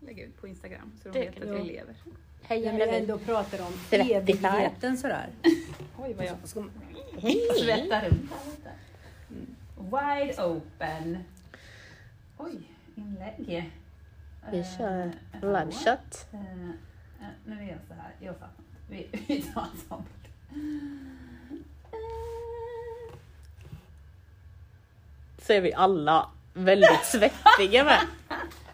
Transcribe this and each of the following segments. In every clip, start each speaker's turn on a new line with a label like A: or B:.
A: lägga ut på Instagram så de
B: Det
A: vet
B: kan
A: att
C: du.
A: jag lever.
B: Hej
C: När vi
B: Jenny!
C: ändå pratar om
B: 30
C: evigheten sådär. Alltså,
A: Oj vad jag Mm.
C: Ska man-
B: Hej!
A: alltså, svettar runt här lite. Wide open. Oj, inlägg.
B: Vi
A: Eh,
B: kör
A: hallå.
B: live shot.
A: Eh, eh, nu är jag så här. Jag fattar inte. Vi, vi tar en sån bild. Eh,
B: Så är vi alla väldigt svettiga med.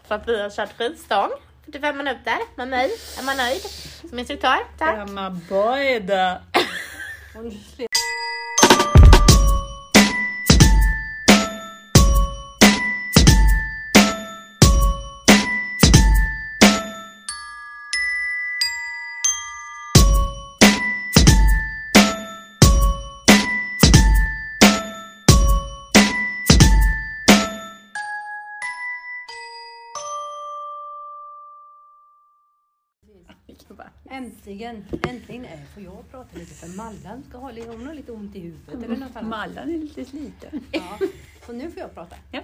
B: För att vi har kört skivstång 45 minuter med mig. Är man nöjd? Som instruktör, tack!
A: Emma Boyda.
C: Hon-
A: tá?
C: Äntligen, äntligen är, får jag prata lite för Mallan ska ha, hon har lite ont i huvudet eller något annat.
A: Mallan är lite sliten.
C: Ja, så nu får jag prata.
A: Ja.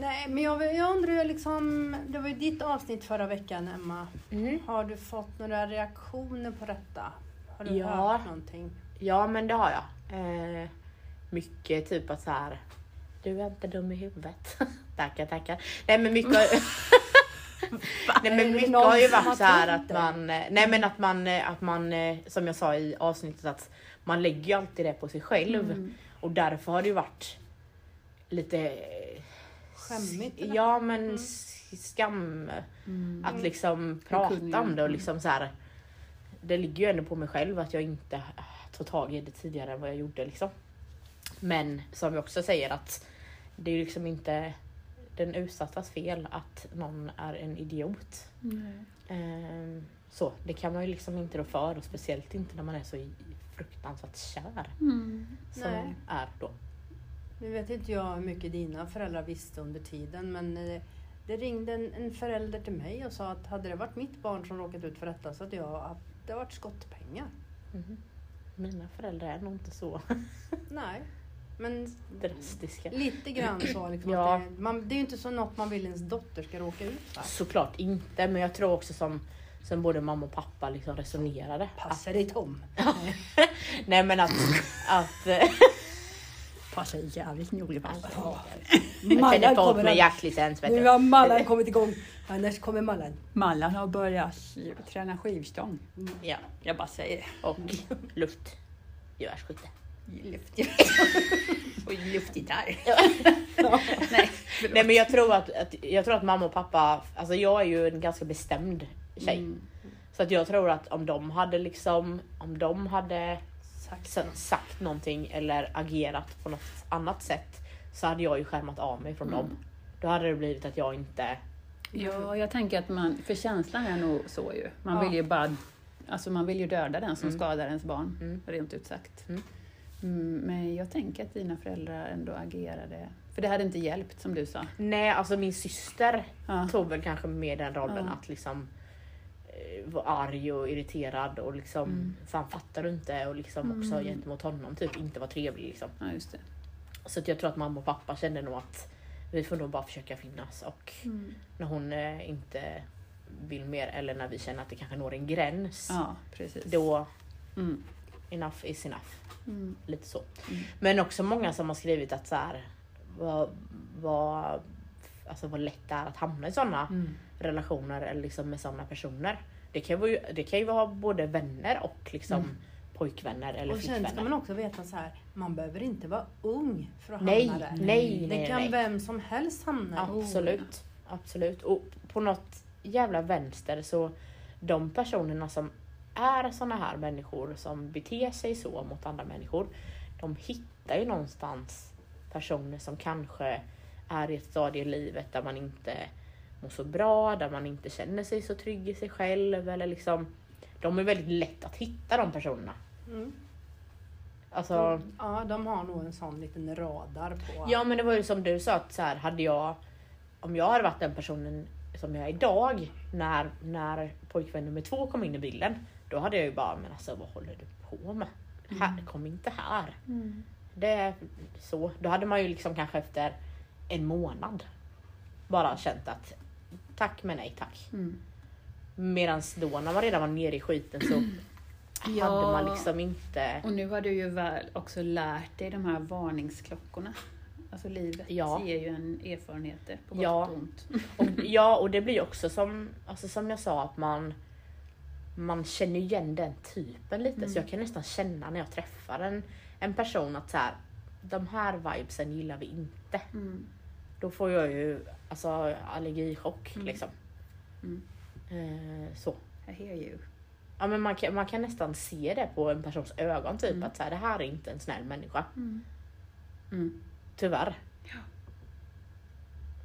C: Nej, men jag, jag undrar ju liksom, det var ju ditt avsnitt förra veckan Emma.
B: Mm.
C: Har du fått några reaktioner på detta? Har du
B: Ja.
C: hört någonting?
B: Ja, men det har jag. Eh, mycket typ att så här. Du är inte dum i huvudet. tackar, tackar. Nej, men mycket. nej,
C: Är det
B: men mycket
C: någon
B: har ju
C: som har
B: varit så här
C: tänkt
B: att man. eh, Nej, men att man eh, att man eh, som jag sa i avsnittet att man lägger ju alltid det på sig själv
C: Mm.
B: och därför har det ju varit lite. eh,
C: Skämmigt? eller? Mm.
B: Ja, men s- skam att liksom prata om det och liksom så här. Det ligger ju ändå på mig själv att jag inte eh, tog tag i det tidigare än vad jag gjorde liksom. Men som vi också säger att det är ju liksom inte den utsattas fel att någon är en idiot. Ehm, så det kan man ju liksom inte rå för och speciellt inte när man är så i- fruktansvärt kär som
C: Mm. Nej.
B: man är då.
C: Nu vet inte jag hur mycket dina föräldrar visste under tiden men eh, det ringde en, en förälder till mig och sa att hade det varit mitt barn som råkat ut för detta så hade jag, det hade varit skottpengar.
B: Mhm. Mina föräldrar är nog inte så
C: Nej, men
B: drastiska.
C: lite grann så. Liksom,
B: Ja.
C: att det, man, det är ju inte så något man vill ens dotter ska råka ut för.
B: Såklart inte, men jag tror också som, som både mamma och pappa liksom resonerade.
C: Passa dig Tom!
B: Nej men att... att eh,
C: Passa dig jävligt noga.
B: jag känner folk med hjärtligt ens vet
C: Nu
B: du.
C: har Mallan kommit igång, annars kommer Mallan.
A: Mallan har börjat träna skivstång.
B: Ja,
A: Jag bara säger
B: och luft. Gevärsskytte.
A: Och luftgitarr.
B: Nej, Nej men jag tror att, att, jag tror att mamma och pappa, alltså jag är ju en ganska bestämd tjej.
D: Mm.
B: Så att jag tror att om de hade liksom, om de hade sa- sagt någonting eller agerat på något annat sätt så hade jag ju skärmat av mig från dem. Då hade det blivit att jag inte
D: Ja, jag tänker att man, för känslan är nog så ju. Man
C: Ja.
D: vill ju bara, alltså man vill ju döda den som skadar ens barn,
B: Mm.
D: rent ut sagt.
B: Mm.
D: Mm, Men jag tänker att dina föräldrar ändå agerade, för det hade inte hjälpt som du sa.
B: Nej, alltså min syster
A: Ah.
D: Ja.
B: tog väl kanske med den rollen
D: Ja.
B: att liksom eh, vara arg och irriterad och liksom fan fattar du inte och liksom också gentemot honom typ inte vara trevlig liksom.
D: Ja, just det.
B: Så att jag tror att mamma och pappa kände nog att vi får nog bara försöka finnas och när hon eh, inte vill mer eller när vi känner att det kanske når en gräns
A: Ah.
D: Ja, precis.
B: då
D: Mm.
B: enough is enough.
D: Mm.
B: Lite så. Men också många som har skrivit att så här, vad, vad, alltså vad lätt det är att hamna i sådana
D: Mm.
B: relationer eller liksom med sådana personer. Det kan, ju, det kan ju vara både vänner och liksom pojkvänner eller
C: Mm. Och sen ska
B: flickvänner.
C: man också veta så här, man behöver inte vara ung för att
B: Nej,
C: hamna där.
B: nej,
C: det
B: nej,
C: kan
B: nej.
C: vem som helst hamna i.
B: Absolut. Oh. Absolut. Och på något jävla vänster så de personerna som är såna här människor som beter sig så mot andra människor. De hittar ju någonstans personer som kanske är i ett stadie i livet där man inte mår så bra, där man inte känner sig så trygg i sig själv eller liksom. De är väldigt lätt att hitta de personerna.
C: Mm.
B: Alltså,
C: Ja, de har nog en sån liten radar på.
B: Ja men det var ju som du sa att så här, hade jag om jag hade varit den personen som jag är idag när, när pojkvän nummer två kom in i bilden då hade jag ju bara men alltså vad håller du på med? Här, kom inte här. Det är så. Då hade man ju liksom kanske efter en månad bara känt att Tack men nej tack.
D: Mm.
B: Medan då när man redan var nere i skiten så
D: Ja.
B: hade man liksom inte...
D: Och nu har du ju väl också lärt dig de här varningsklockorna. Alltså livet
B: Ja.
D: ger ju en erfarenheter på gott
B: Ja.
D: och ont.
B: Och, ja, och det blir ju också som, alltså, som jag sa att man man känner ju igen den typen lite så
D: Mm.
B: jag kan nästan känna när jag träffar en, en person att så här, de här vibesen gillar vi inte.
D: Mm.
B: Då får jag ju alltså, allergichock
D: Mm.
B: liksom.
D: Mm.
B: Eh, så.
D: I hear you.
B: Ja, men man, kan, man kan nästan se det på en persons ögon typ
D: Mm.
B: att så här, det här är inte en snäll människa.
D: Mm. Mm.
B: Tyvärr.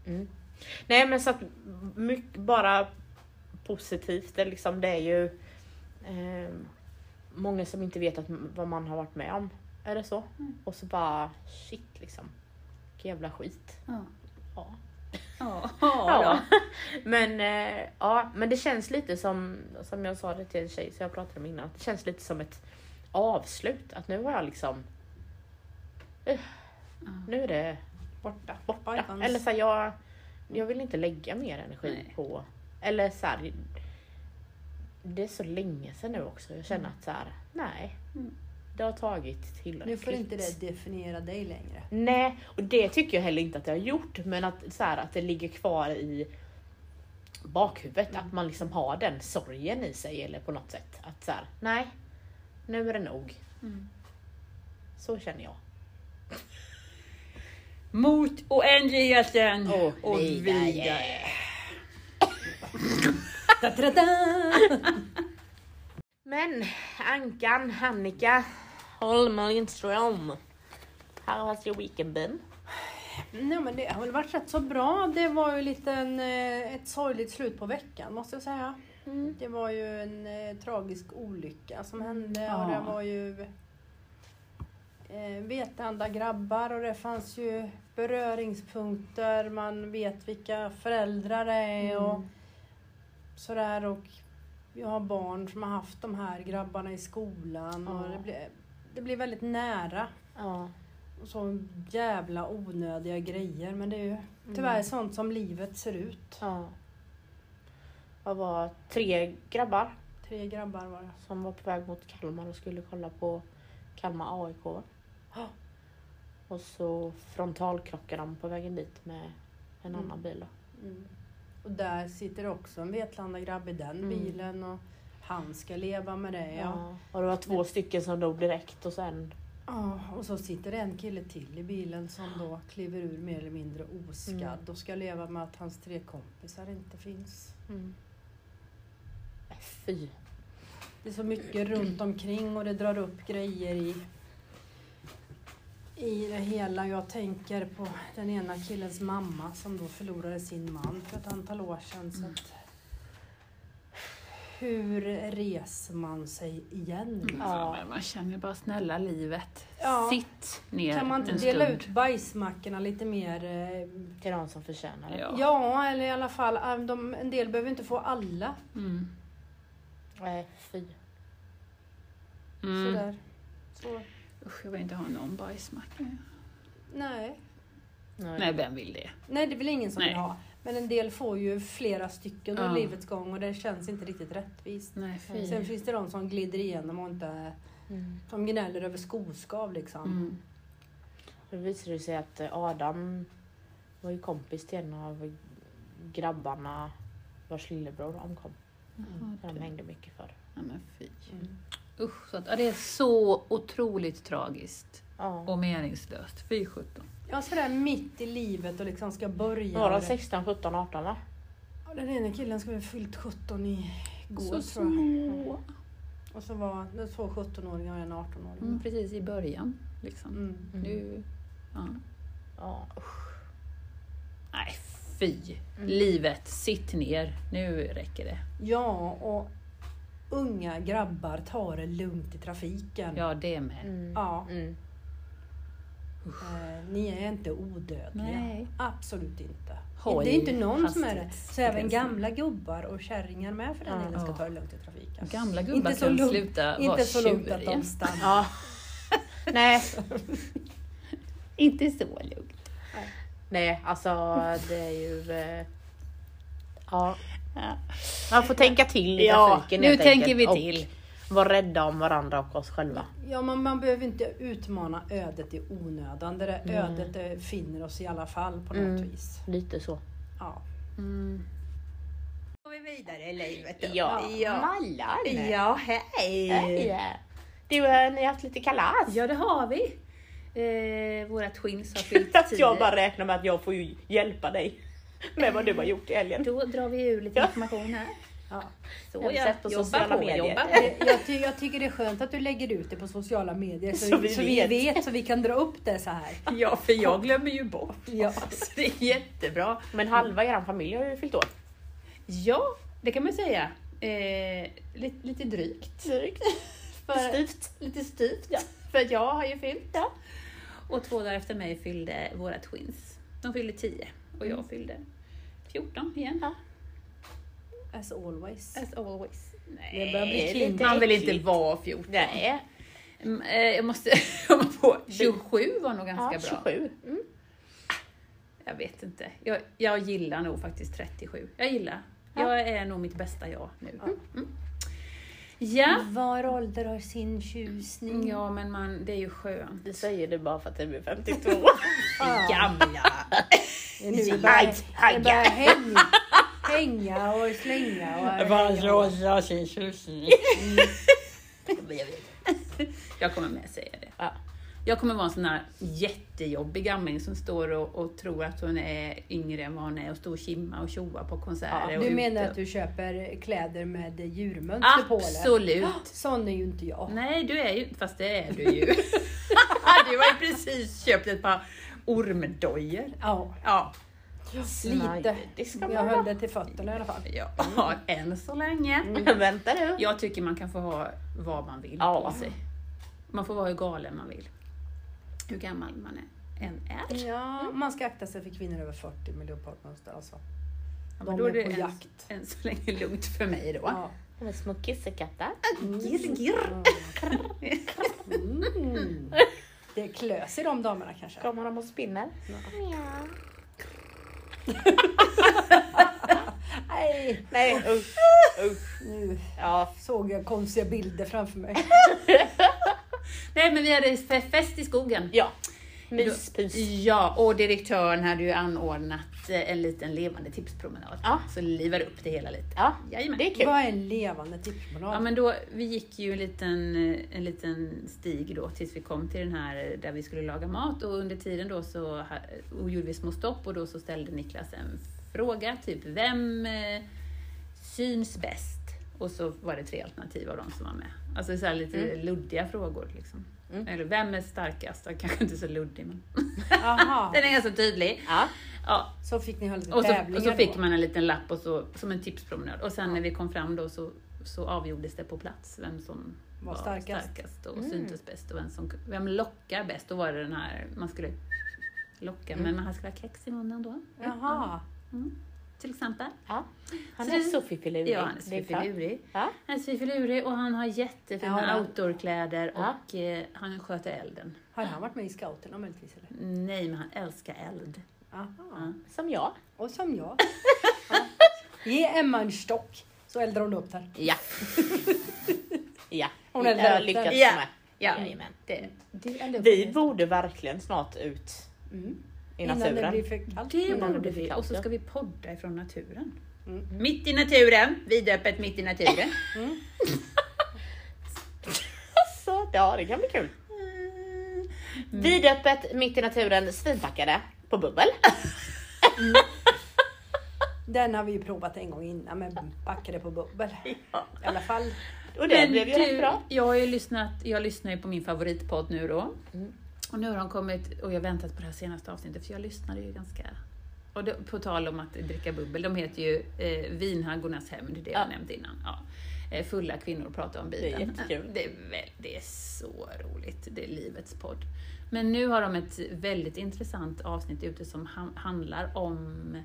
B: Mm. Nej men så att mycket, bara positivt, det, är liksom, det är ju eh, många som inte vet att, vad man har varit med om. Är det så?
D: Mm.
B: Och så bara shit liksom. Vilken jävla skit.
D: Ja.
B: Ja.
D: Ja.
B: Ja. Men, eh, ja, men det känns lite som, som jag sa det till en tjej som jag pratade med innan, att det känns lite som ett avslut. Att nu har jag liksom,
D: Ja.
B: nu är det
C: Borta.
B: borta.
C: Bygons.
B: Eller så här, jag, jag vill inte lägga mer energi
D: Nej.
B: på... Eller så här, Det är så länge sedan nu också. Jag känner att så här, nej.
D: Mm.
B: Det har tagit
C: Nu
B: tillräckligt.
C: får inte det definiera dig längre.
B: Nej, och det tycker jag heller inte att det har gjort. Men att, så här, att det ligger kvar i bakhuvudet. Att man liksom har den sorgen i sig eller på något sätt. Att så här, nej. Nu är det nog.
D: Mm.
B: Så känner jag.
D: Mot oändligheten!
B: Och vidare. Men Ankan, Annika Holm Lindström. How has your weekend been?
C: Nej, men det har väl varit rätt så bra. Det var ju lite en, eh, ett sorgligt slut på veckan måste jag säga.
B: Mm.
C: Det var ju en eh, tragisk olycka som hände och
D: Ja.
C: det var ju eh, vetanda grabbar och det fanns ju beröringspunkter. Man vet vilka föräldrar det är
A: Mm.
C: och sådär. Och jag har barn som har haft de här grabbarna i skolan och
B: Ja.
C: det blir, det blir väldigt nära.
B: Ja.
C: Och så jävla onödiga grejer men det är ju tyvärr sånt som livet ser ut.
B: Mm. ja. Jag var tre grabbar
C: Tre grabbar var det.
B: som var på väg mot Kalmar och skulle kolla på Kalmar AIK.
C: Ja.
B: Och så frontalkrockade de på vägen dit med en
C: Mm.
B: annan bil. då.
C: Mm. Och där sitter också en Vetlandaragrabb i den
B: Mm.
C: bilen och han ska leva med det. Ja.
B: Och det var två stycken som dog direkt och sen...
C: Ja, och så sitter det en kille till i bilen som då kliver ur mer eller mindre oskadd och ska leva med att hans tre kompisar inte finns.
B: Äh, Fy.
C: Det är så mycket runt omkring och det drar upp grejer i, i det hela. Jag tänker på den ena killens mamma som då förlorade sin man för ett antal år sedan. Så att, hur reser man sig igen?
D: Mm.
B: Ja.
D: men man känner bara snälla livet.
C: Ja.
D: Sitt ner
C: Kan man inte
D: en
C: dela
D: stund.
C: ut bajsmackorna lite mer? eh,
B: Till de som förtjänar det.
D: Ja.
C: Ja, eller i alla fall, eh, de, en del behöver inte få alla.
D: Mm.
B: Nej, Äh, fy.
D: Mm.
C: Sådär. Så,
D: Usch, jag vill inte ha någon bajsmacka.
C: nej.
D: Nej, vem vill det?
C: nej, det är väl ingen som
D: Nej.
C: vill ha. Men en del får ju flera stycken under
D: Ja.
C: livets gång och det känns inte riktigt rättvist.
D: Nej, fy.
C: Sen finns det de som glider igenom och inte...
B: Mm.
C: De gnäller över skoskav liksom.
D: Mm.
B: Då visade det sig att eh, Adam var ju kompis till en av grabbarna vars lillebror omkom.
D: Jaha,
B: Där de
D: du.
B: hängde mycket för.
D: Ja, men fy.
C: Mm.
D: Usch, så att, ja, det är så otroligt tragiskt
B: Ja.
D: och meningslöst. Fy sjutton.
C: Ja, sådär mitt i livet och liksom ska börja.
B: Var de 16, 17, 18 va?
C: Ja, Den ena killen skulle ha fyllt 17 i går
D: Så
C: tror jag.
D: små.
C: Och så var det två 17-åringar och en 18-åring.
D: Mm, precis i början. Liksom.
C: Mm.
D: Nu, ja.
B: Ja.
D: Nej, fy. Livet, sitt ner. Nu räcker det.
C: Ja, och unga grabbar tar det lugnt i trafiken.
D: Ja, det med.
B: Mm.
C: Ja,
B: Mm.
C: eh, ni är inte odödliga.
D: Nej.
C: Absolut inte.
D: Håll
C: det är inte någon som är det. Så även
D: hastighetsgränsen.
C: gamla gubbar och kärringar med för den
B: Ja.
C: delen ska
D: Ja.
C: ta det lugnt i trafiken.
D: Gamla gubbar
C: Inte så
D: kan
C: lugnt-
D: sluta vara
C: Inte så lugnt att
D: tjuriga.
C: de stannar.
B: ja. Nej.
D: Inte så lugnt.
B: Nej, alltså det är ju... eh, Ja.
D: Ja.
B: Man får tänka till i
D: Ja,
B: trafiken
D: nu
B: helt
D: tänker
B: enkelt
D: vi till.
B: Och vara rädda om varandra och oss själva.
C: Ja, man, man behöver inte utmana ödet i onödan. Det där ödet eh, finner oss i alla fall på något
B: Mm.
C: vis.
B: Lite så.
C: Ja.
D: Mm.
A: går vi vidare i livet. då.
B: Ja.
A: ja.
B: Mallan!
A: Ja, hej!
B: Ja. Du, eh, ni har haft lite kalas?
A: Ja, det har vi. Eh, vårat skins har fyllt
B: Att
A: tio.
B: jag bara räknar med att jag får ju hjälpa dig med vad du har gjort i helgen.
A: Då drar vi ur lite information här.
C: Ja.
A: Så
B: Jag har
A: ja,
B: sett på sociala medier.
A: jobba på.
C: Eh, Jag, ty- jag tycker det är skönt att du lägger ut det på sociala medier så,
B: Så
C: vi,
B: vi
C: så vi
B: vet.
C: vet, så vi kan dra upp det så här.
A: Ja, för jag glömmer ju bort.
C: Ja.
A: Så det är jättebra.
B: Men halva er familj har ju fyllt år.
A: Ja, det kan man säga. Eh, lite, lite drygt.
B: Drygt.
A: För,
B: Styvt.
A: Lite styvt.
B: Ja.
A: För att jag har ju fyllt. Ja. Och två dagar efter mig fyllde våra twins. De fyllde 10 och jag fyllde 14 igen.
C: As always.
A: As always. Nej,
C: Det börjar bli kinky.
A: Man vill inte
B: äckligt.
A: vara 14.
B: Nej,
A: Mm, eh, Jag måste komma på, 27 var nog ganska
B: ja,
A: bra.
B: 27. Mm.
A: Jag vet inte. Jag, jag gillar nog faktiskt 37. Jag gillar.
B: Ja.
A: Jag är nog mitt bästa jag nu.
C: Ja.
A: Mm. Ja.
C: Var ålder har sin tjusning.
A: ja, men man, det är ju skönt.
B: Vi säger det bara för att det blir 52.
A: Gamla!
C: Det är nu det
B: Haj,
C: börjar,
B: haj.
C: det börjar hänga, hänga och slänga. Och hänga.
B: har sin tjusning.
A: Jag kommer med säga det.
B: Ja.
A: Jag kommer vara en sån här jättejobbig gamling som står och, och tror att hon är yngre än vad hon är och står och kimma och tjoa på konserter.
B: Ja,
A: och
C: Du menar
A: ute.
C: att du köper kläder med djurmönster på eller?
A: Absolut!
C: Sån är ju inte jag.
A: Nej, du är ju fast det är du ju. du har ju precis köpt ett par ormdojor.
C: Ja,
A: Ja,
C: lite.
B: Det ska
C: Jag
B: man
C: höll
B: ha.
C: det till fötterna i alla fall.
A: ja,
C: Mm.
A: än så länge.
B: Mm. Vänta nu.
A: Jag tycker man kan få ha vad man vill
B: Ja.
A: på sig. Man får vara hur galen man vill. Hur gammal man är- än är.
C: Ja, Mm. man ska akta sig för kvinnor över 40 med leopardmönster alltså.
A: Ja,
C: De
A: men då är
C: är
A: det
C: på
A: än,
C: jakt.
A: än så länge lugnt för mig då.
C: Ja.
B: Med små kissekatter.
A: Girr, girr.
C: Mm. Det klös i de damerna kanske.
B: Kramar de och spinner.
C: Nej,
B: Nej usch. usch.
C: nu
B: Ja.
C: såg jag konstiga bilder framför mig.
A: Nej men vi hade fe- fest i skogen.
B: ja. Myspys.
A: Ja, och direktören hade ju anordnat eh, en liten levande tipspromenad.
B: Ja.
A: Så livar upp det hela lite.
B: Ja,
A: Jajamän.
B: det är kul.
C: Vad är en levande tipsmanal?
A: Ja men då, vi gick ju en liten, eh, en liten stig då tills vi kom till den här eh, där vi skulle laga mat och under tiden då så ha- och gjorde vi små stopp och då så ställde Niklas en fråga, typ vem eh, syns bäst? Och så var det tre alternativ av de som var med. Alltså så här lite luddiga frågor liksom.
B: Mm.
A: Eller vem är starkast? Ja, Kanske inte så luddig men
C: Aha,
A: den är ganska tydlig.
B: Ja.
A: Ja,
C: så fick ni ha lite
A: och så,
C: tävlingar
A: och så fick
C: då.
A: man en liten lapp och så, som en tipspromenad. Och sen när vi kom fram då så, så avgjordes det på plats vem som
C: Var starkast.
A: och syntes bäst och vem, som, vem lockar bäst. Då var det den här, man skulle locka, men man skulle ha kex i munnen då,
C: Jaha.
A: till exempel.
B: Ja. Han
A: Så
B: är
A: det-
B: så fiffilurig.
A: Ja, han är så
B: Det är klart.
A: fiffilurig.
B: Ja.
A: Han är så fiffilurig och han har jättefina
C: Ja, men-
A: outdoorkläder
B: Ja.
A: och eh, han sköter elden.
C: Har han varit med i scouterna möjligtvis? Eller?
A: Nej, men han älskar eld.
C: Aha.
B: Som jag.
C: Och som jag. Ja. Ge Emma en stock så eldar hon upp den.
B: Ja. ja.
C: Hon
B: Det
C: är
B: har jag
C: löten.
B: lyckats
A: Ja.
B: med.
A: Ja,
B: Jajamän.
A: det, det är
B: Vi borde verkligen snart ut
C: Mm.
B: i
C: Innan
B: naturen.
C: det blir för kallt.
A: Det
B: Innan det
A: borde
B: blir
A: vi.
B: kallt,
A: Och så
B: ja.
A: ska vi podda ifrån naturen.
C: Mm.
A: Mitt i naturen, vidöppet mitt i naturen.
B: Så, Alltså, ja, det kan bli kul. Mm. Vidöppet, mitt i naturen, svinpackade på bubbel.
C: Den har vi ju provat en gång innan med backade på bubbel. I alla fall.
B: Och det blev ju rätt bra.
A: Jag, har ju lyssnat, jag lyssnar ju på min favoritpodd nu då. Och nu har de kommit, och jag har väntat på det här senaste avsnittet för jag lyssnade ju ganska... Och det, på tal om att dricka bubbel, de heter ju eh, Vinhaggornas hämnd, det har jag
B: Ja.
A: nämnt innan. Ja. Eh, Fulla kvinnor pratar om
B: är
A: Bibeln.
B: jättekul.
A: Det är, väl, det är så roligt, det är livets podd. Men nu har de ett väldigt intressant avsnitt ute som han, handlar om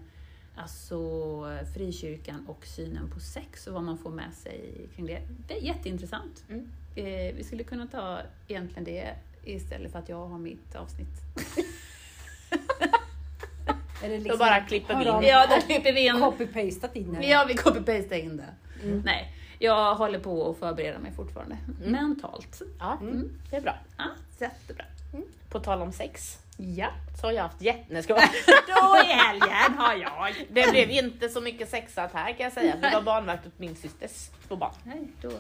A: alltså, frikyrkan och synen på sex och vad man får med sig kring det. Det är jätteintressant.
B: Mm.
A: Eh, vi skulle kunna ta egentligen det istället för att jag har mitt avsnitt.
C: Är det
B: Då bara klipper vi
C: liksom, har
B: in.
C: de
A: Ja, då klipper vi in.
C: Copy-pastat in här?
A: Ja, vi copy-pastar in det. Nej, jag håller på att förbereda mig fortfarande. Mentalt.
B: Ja, Mm.
C: Mm.
B: det är bra.
A: Ja, jättebra.
B: På tal om sex
A: Ja,
B: så har jag haft jätte... Nej, ska jag bara-
A: då i helgen har jag.
B: Det blev inte så mycket sexat här kan jag säga. Det var barnvakt åt min systers två barn.
A: Nej, då.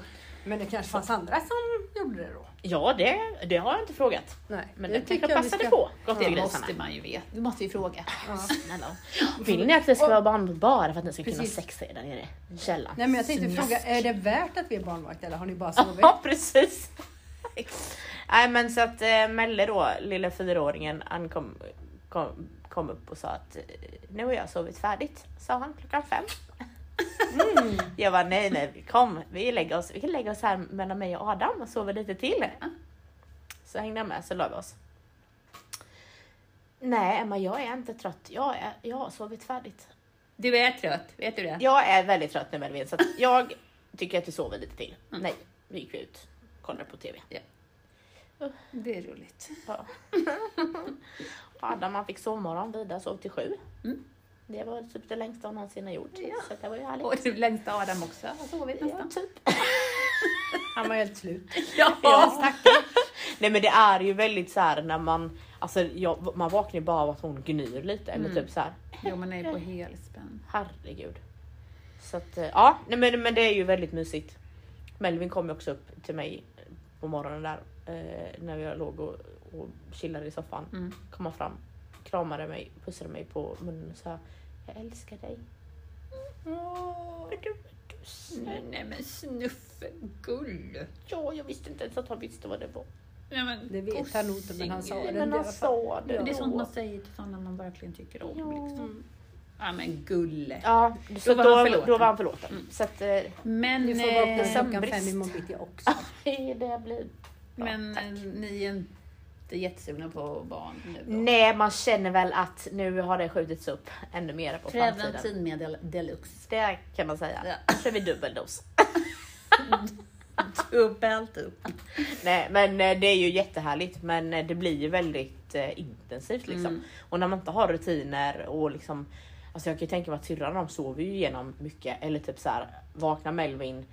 C: Men det kanske fanns andra som gjorde det då?
B: Ja, det, det har jag inte frågat.
C: Nej,
B: Men
C: det
B: det kanske
C: jag vi
B: passade
C: ska-
B: på. Gott
A: Det
B: till
A: måste
B: grisarna.
A: man ju veta. Det måste vi fråga.
C: Ja.
B: Snälla. Vill ni att vi ska vara barnvakt bara för att ni ska kunna
C: Precis.
B: sexa er där nere i källaren?
C: Nej men jag tänkte
B: Snusk.
C: fråga, är det värt att vi är barnvakt eller har ni bara sovit?
B: Ja, precis. Nej men så att eh, Melle då, lilla fyraåringen, han kom, kom, kom upp och sa att eh, nu har jag sovit färdigt, sa han klockan fem.
C: Mm.
B: Jag var nej nej, kom vi lägger oss, vi kan lägga oss här mellan mig och Adam och sover lite till. Så hängde han med, så la vi oss. Nej Emma, jag är inte trött, jag, är, jag har sovit färdigt.
A: Du är trött, vet du det?
B: Jag är väldigt trött nu Melvin, så att jag tycker att du sover lite till.
A: Mm.
B: Nej, vi gick ut, kollade på TV.
A: Det är roligt.
B: Ja. Adam han fick sovmorgon, Vida sov till sju.
A: Mm.
B: Det var typ det längsta hon någonsin har gjort.
A: Ja.
B: Så det var ju härligt.
A: Och du längsta Adam också har sovit
B: Ja,
A: nästan.
B: typ.
C: Han var helt slut.
A: Ja,
B: Nej men det är ju väldigt så här när man, alltså jag, man vaknar ju bara av att hon gnyr lite eller
A: Mm.
B: typ så här.
A: Jo, man är ju på helspänn.
B: herregud. Så att eh, ja, nej men, men det är ju väldigt mysigt. Melvin kom ju också upp till mig på morgonen där eh, när jag låg och, och chillade i soffan.
A: Mm.
B: komma fram, kramade mig, pussade mig på munnen och sa Jag älskar dig. Åh, Mm. du är du snäll.
A: Nej men snuffelgull.
B: Ja, jag visste inte ens att han visste vad det var.
A: Nej, men
C: Det vet han nog inte, men han sa
A: gossing.
C: Ja,
B: men
C: det
B: han
C: var fan-
B: sa det.
A: Men Det är
B: då.
A: sånt man säger till sådana man verkligen tycker om.
B: Ja.
A: Liksom. Ja men gulle.
B: Ja, så
A: var
B: då,
A: han
B: då,
A: förlåten.
B: var han förlåten. Så att, eh,
A: Men,
C: Du får gå upp
A: eh,
C: till klockan
B: sömnbrist.
C: fem imorgon bitti också.
B: det blir... Ja,
A: men
B: tack.
A: eh, ni är inte jättesugna på barn nu då?
B: Nej, man känner väl att nu har det skjutits upp ännu mer på framtiden.
A: Preventivmedel deluxe.
B: Det kan man säga.
A: Ja.
B: Nu kör vi dubbeldos.
A: Ah! Dubbelt upp.
B: Nej men eh, det är ju jättehärligt men eh, det blir ju väldigt eh, intensivt liksom.
A: Mm.
B: Och när man inte har rutiner och liksom Alltså jag kan ju tänka mig att syrran de sover ju igenom mycket eller typ så här vaknar Melvin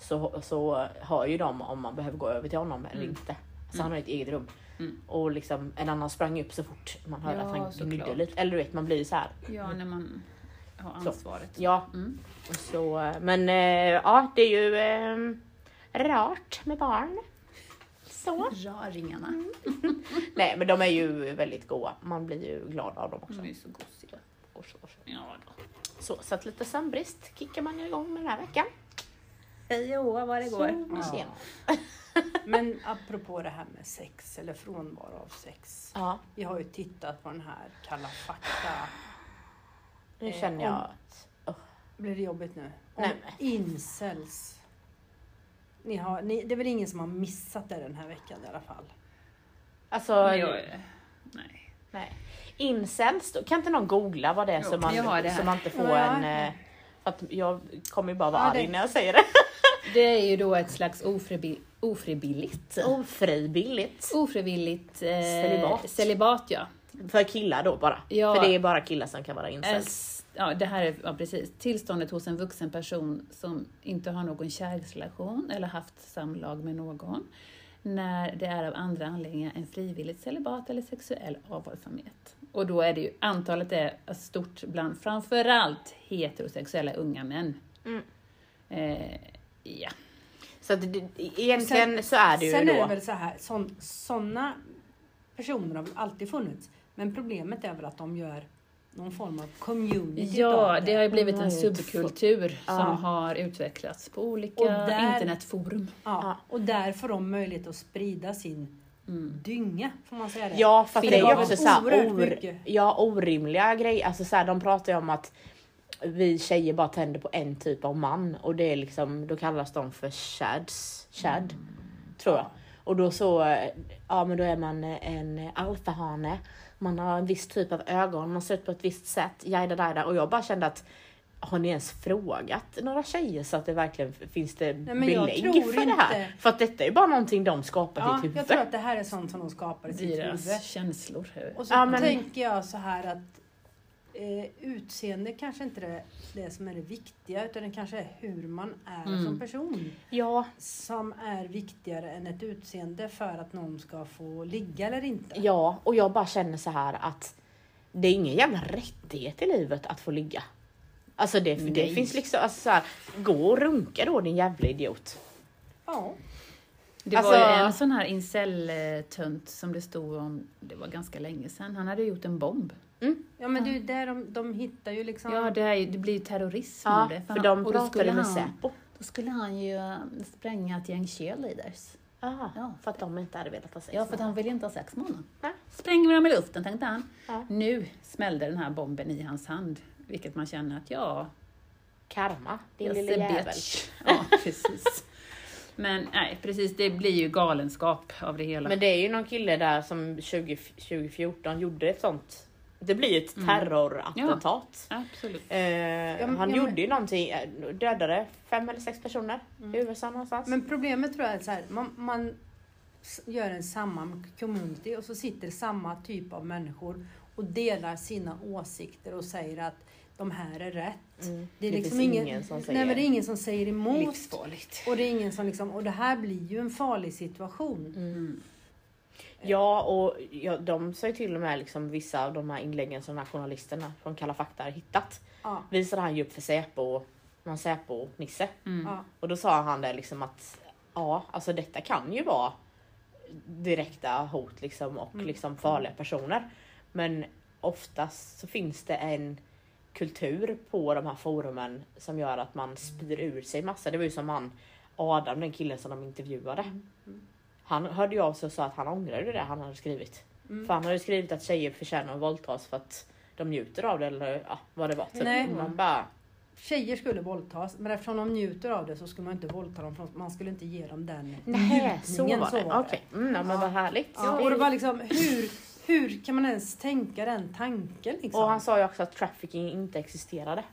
B: så, så hör ju de om man behöver gå över till honom eller
A: Mm.
B: inte. Alltså han har ju ett eget rum.
A: Mm.
B: Och liksom en annan sprang upp så fort man hörde
A: Ja,
B: att han gnydde
A: såklart.
B: lite. Eller du vet man blir ju så här.
A: Ja, när man har
B: Så.
A: ansvaret.
B: Ja.
A: Mm.
B: Och så, eh, men eh, ja det är ju eh, rart med barn. Så.
A: Raringarna.
B: Nej men de är ju väldigt goa. Man blir ju glad av dem också.
A: De är ju så gosiga.
B: Och så, och så.
A: Ja då.
B: Så, så att lite sömnbrist kickar man ju igång med den här veckan.
A: Hej och hå vad det går.
B: Så, vi ser.
C: Ja. Men apropå det här med sex eller frånvaro av sex.
B: Ja,
C: Vi har ju tittat på den här Kalla fakta.
B: nu
C: Eh,
B: känner jag
C: om-
B: att... Åh,
C: Blir det jobbigt nu? Om
B: Nej,
C: incels. Ni har, ni, det är väl ingen som har missat det den här veckan i alla fall?
B: Alltså,
A: Men jag- Nej.
B: nej. Incels, då, kan inte någon googla vad det är
A: Jo,
B: som man,
A: jag har det här.
B: som man inte får
C: Ja.
B: en... eh, För att jag kommer ju bara vara
C: Ja,
B: arg
C: det-
B: när jag säger det.
A: Det är ju då ett slags ofribi- ofrivilligt.
B: Ofrivilligt.
A: Ofrivilligt eh,
B: Celibat.
A: celibat ja.
B: För killar då bara.
A: Ja.
B: För det är bara killar som kan vara
A: Eh,
B: incels.
A: s- Ja, det här är ja, precis. Tillståndet hos en vuxen person som inte har någon kärleksrelation eller haft samlag med någon när det är av andra anledningar än frivilligt celibat eller sexuell avhållsamhet. Och då är det ju, antalet är stort bland framförallt heterosexuella unga män.
B: Mm.
A: Eh, ja.
B: Så att det, egentligen så är det ju
C: Äh, Sen
B: då...
C: är det väl så här, sån, såna personer har väl alltid funnits. Men problemet är väl att de gör någon form av community
A: ja,
C: utav
A: det har ju blivit
B: Mm.
A: en subkultur som
B: Ja.
A: har utvecklats på olika
C: Och där-
A: internetforum.
C: Ja,
B: Ja.
C: och där får de möjlighet att sprida sin
A: Mm.
C: dynga, får man säga det?
B: Ja för att
A: För
B: det
A: det
B: är ju
A: var
B: också såhär
C: oerhört
B: or,
C: mycket.
B: ja, orimliga grejer. Alltså så här, de pratar ju om att vi tjejer bara tänder på en typ av man och det är liksom, då kallas de för shads. Shad,
C: Mm.
B: tror jag. Och då så, eh, ja men då är man eh, en alfahane. Man har en viss typ av ögon, man ser ut på ett visst sätt. Jajda, jajda. Och jag bara kände att har ni ens frågat några tjejer så att det verkligen finns det
C: men jag
B: belägg
C: tror
B: för det här?
C: inte.
B: För att detta är ju bara någonting de skapar i
C: Ja,
B: sitt huvud.
C: jag tror att det här är sånt som de skapar i sitt huvud.
A: Deras känslor.
C: Och så
B: Ja, men-
C: tänker jag så här att eh, utseende kanske inte är det som är det viktiga utan det kanske är hur man är
A: Mm.
C: som person
B: Ja,
C: som är viktigare än ett utseende för att någon ska få ligga eller inte.
B: ja, och jag bara känner så här att det är ingen jävla rättighet i livet att få ligga. Alltså det, för det
A: Nej.
B: finns liksom, alltså så här, gå och runka då din jävla idiot.
C: Ja.
A: Det
B: Alltså-
A: var ju en sån här incel-tönt som det stod om, det var ganska länge sedan, han hade gjort en bomb.
C: Ja men det är ju där de, de hittar ju liksom...
A: Ja, det, här, är ju- det blir ju terrorism
B: Ja,
A: av det.
B: för de
A: och då
B: pratade
A: skulle
B: med
A: han-
B: Säpo.
A: Då skulle han ju eh, spränga ett gäng cheerleaders.
B: Aha,
A: Ja.
B: för att de inte hade velat ha sex.
A: Ja, för att han ville inte ha sex med honom.
B: Nej.
A: Spränger vi dem i luften, tänkte han.
B: Ja.
A: Nu smällde den här bomben i hans hand, vilket man känner att ja,
B: Karma, din
A: jag
B: lille
A: ser
B: jävel.
A: bitch. Ja, precis. Men nej, precis, det blir ju galenskap av det hela.
B: Men det är ju någon kille där som 20, 2014 gjorde ett sånt. Det blir ju ett
A: Mm.
B: terrorattentat.
A: Absolut.
B: Eh,
C: Ja, men-
B: han
C: ja, men-
B: gjorde ju någonting, eh, dödade fem eller sex personer i
A: Mm.
B: USA någonstans.
C: Men problemet tror jag är så här, man, man s- gör en samma community och så sitter samma typ av människor och delar sina åsikter och säger att de här är rätt.
B: Mm.
C: Det är liksom
B: finns
C: ingen,
B: som säger
C: nej, men det är ingen som säger emot.
A: Livsfarligt.
C: Och det är ingen som liksom, och det här blir ju en farlig situation.
A: Mm.
B: Ja och ja, de sa ju till och med liksom vissa av de här inläggen som de här journalisterna från Kalla fakta har hittat.
C: Ja,
B: Visade han ju upp för Säpo, någon Säpo-nisse.
A: Mm.
C: ja,
B: Och då sa han det liksom att ja, alltså detta kan ju vara direkta hot liksom och
C: Mm.
B: liksom farliga personer. Men oftast så finns det en kultur på de här forumen som gör att man spyr ur sig massa. Det var ju som han Adam, den killen som de intervjuade.
C: mm.
B: Han hörde ju av sig och sa att han ångrade det han hade skrivit.
C: Mm.
B: För han hade skrivit att tjejer förtjänar att våldtas för att de njuter av det eller ja, vad det var. Typ.
C: Nej.
B: Man bara,
C: Tjejer skulle våldtas, men eftersom de njuter av det så skulle man inte våldta dem, för man skulle inte ge dem den
B: nej, så
C: njutningen,
B: var det. Okej, mm, ja, men
C: Ja.
B: vad härligt.
C: Ja, och det var liksom, hur, hur kan man ens tänka den tanken liksom?
B: Och han sa ju också att trafficking inte existerade.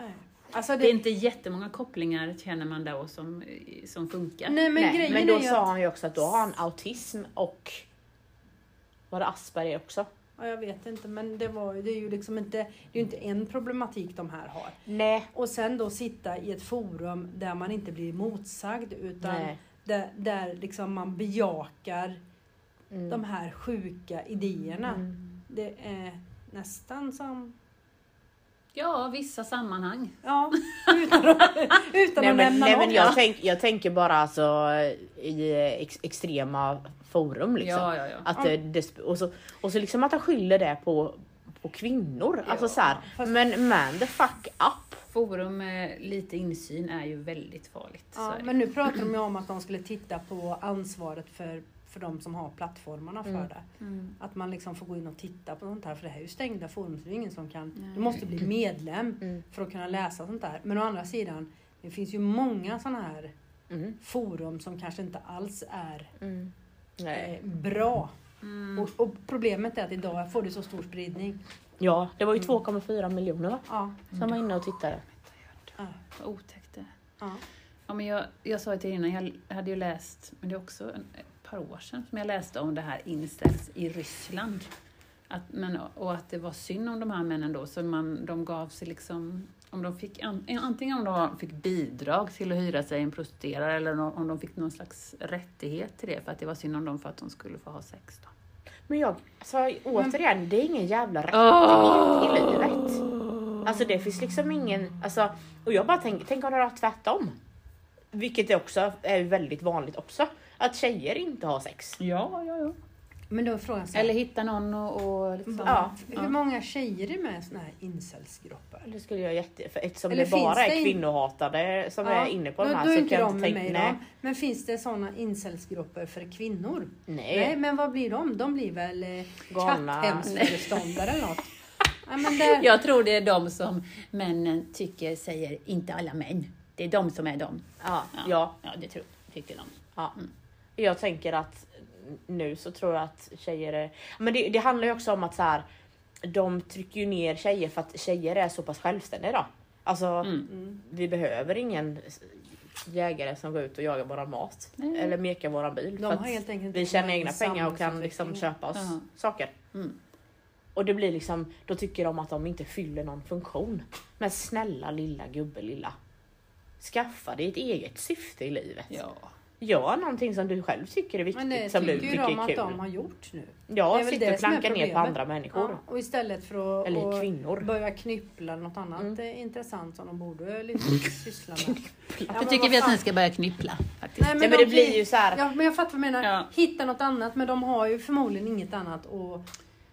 C: Nej. Alltså
A: Det är
C: det,
A: inte jättemånga kopplingar känner man då som, eh, som funkar.
C: nej men
B: Nej,
C: grejen
B: men då
C: är ju
B: sa
C: att,
B: han ju också att då har han autism och var det Asperger också?
C: ja, jag vet inte, men det, var, ju- det är ju liksom inte, det är ju inte en problematik de här har.
B: Nej.
C: Och sen då sitta i ett forum där man inte blir motsagd utan
B: Nej.
C: där, där liksom man bejakar
B: Mm.
C: de här sjuka idéerna.
B: Mm.
C: Det är nästan som,
A: Ja, vissa sammanhang.
C: ja, utan att, utan
B: Nej, men,
C: att nämna
B: nej,
C: någon.
B: men jag, tänk, jag tänker bara alltså i ex, extrema forum liksom.
A: Ja, ja, ja.
B: Att det, det, sp- och, så, och så liksom att han skyller det på, på kvinnor. Alltså
A: Ja,
B: så här,
C: fast-
B: men man the fuck up.
A: Forum med lite insyn är ju väldigt farligt. så är
C: Ja,
A: det.
C: men nu pratar de ju om att de skulle titta på ansvaret för, för de som har plattformarna för
B: Mm.
C: det.
A: Mm.
C: Att man liksom får gå in och titta på sånt här, för det här är ju stängda forum, så det är ingen som kan...
A: Nej.
C: Du måste bli medlem
B: Mm.
C: för att kunna läsa sånt där. Men å andra sidan, det finns ju många sådana här
B: Mm.
C: forum som kanske inte alls är
B: Mm. Nej.
C: eh, bra.
A: Mm.
C: Och, och problemet är att idag får det så stor spridning.
B: Ja, det var ju 2,4 miljoner va?
C: Ja,
B: Som var inne och tittade.
C: ja,
A: Vad otäckt det är.
C: ja.
A: Ja, men jag, jag sa ju till er innan, jag hade ju läst, men det är också en, ett par år sedan, som jag läste om det här incels i Ryssland. Att, men, och att det var synd om de här männen då, så man, de gav sig liksom, om de fick, an, eh, antingen om de fick bidrag till att hyra sig en prostituerad eller nå- om de fick någon slags rättighet till det, för att det var synd om dem för att de skulle få ha sex. Då.
B: Men jag, alltså, återigen, det är ingen jävla rättighet
A: Åh!
B: i livet. Alltså det finns liksom ingen, alltså, och jag bara tänker, tänk om det var tvärtom. Vilket är också är väldigt vanligt också. Att tjejer inte har sex.
A: Ja, ja, ja.
C: Men då är frågan så här,
A: Eller hitta någon och, och liksom...
B: Ja.
C: Typ hur många tjejer är med i sådana här incelsgrupper?
B: Det skulle jag jätte, för eftersom
C: Eller
B: det bara
C: finns
B: är
C: det in-
B: kvinnohatare som
C: Ja,
B: är inne på
C: då,
B: de här
C: då är
B: så
C: inte
B: kan jag
C: de
B: inte
C: med
B: tänka,
C: mig
B: nej.
C: då. Men finns det sådana incelsgrupper för kvinnor?
B: Nej.
C: Nej. men vad blir de? De blir väl eh,
B: Eh. Galna.
C: katthemsföreståndare eller något? Ja, men det,
A: Jag tror det är de som männen tycker säger, inte alla män. Det är de som är de.
B: Ja, ja.
A: Ja, det tror tycker de.
B: Ja. Jag tänker att nu så tror jag att tjejer är... Men det, det handlar ju också om att så här, de trycker ju ner tjejer för att tjejer är så pass självständiga idag. Alltså
C: Mm.
A: Mm.
B: vi behöver ingen s- jägare som går ut och jagar våran mat
A: Nej.
B: eller mekar våran bil.
C: Mm. de
B: för
C: har
B: att
C: helt enkelt
B: vi
C: inte
B: tjänar
C: varit
B: egna pengar och kan liksom
C: samhällsutveckling.
B: köpa oss
A: Ja.
B: saker. Och det blir liksom, då tycker de att de inte fyller någon funktion. Men snälla lilla gubbe lilla. Skaffa dig ett eget syfte i livet.
D: Ja.
B: Gör någonting som du själv tycker är viktigt,
C: Men det
B: som du
C: tycker ju
B: tycker
C: de
B: är
C: att
B: kul.
C: de har gjort nu. det är
B: Ja,
C: väl
B: sitta
C: det
B: och
C: som är
B: klanka ner på
C: problemet.
B: andra människor.
C: Ja, och istället för att
B: Eller
C: att
B: kvinnor.
C: börja knyppla eller något annat
B: Mm.
C: eh, intressant som de borde liksom syssla med. Ja,
A: Då
C: men
A: tycker
C: vad
A: vi att
C: fan.
A: ni ska börja knippla. Faktiskt.
C: Nej, men,
B: Nej,
C: de
B: men det
C: blir-
B: blir ju så här.
C: Ja, men jag fattar vad du menar.
A: Ja.
C: Hitta något annat, men de har ju förmodligen inget annat. Och,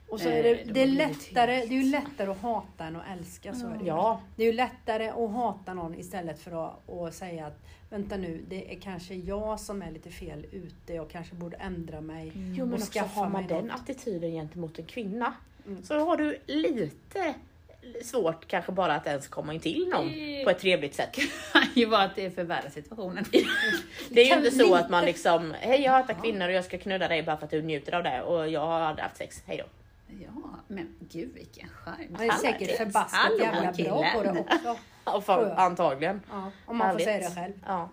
C: och så är det,
A: Eh, de
C: det, är
A: har blivit
C: lättare, det är ju lättare att hata än att älska. Så är det. ju.
B: Ja,
C: det är ju lättare att hata någon istället för att, att säga att vänta nu, det är kanske jag som är lite fel ute. Jag kanske borde ändra mig.
A: Mm.
B: Jo men
C: Och
B: också
C: skaffa
B: har man
C: mig
B: den
C: något.
B: attityden gentemot en kvinna
C: Mm.
B: så har du lite svårt kanske bara att ens komma in till någon på ett trevligt sätt.
A: Det kan ju vara att det förvärrar situationen.
B: Det är ju
C: Kan
B: inte så
C: lite-
B: att man liksom, hej jag hatar kvinnor och jag ska knulla dig bara för att du njuter av det och jag har aldrig haft sex, hej då.
A: Ja, men gud vilken charm.
C: Man är säkert förbaskat
A: Hallå,
C: jävla bra
A: killen.
C: på det också.
B: Och fan,
C: Skönt.
B: antagligen.
C: Ja, om man får
B: Härligt.
C: säga det själv.
B: Ja.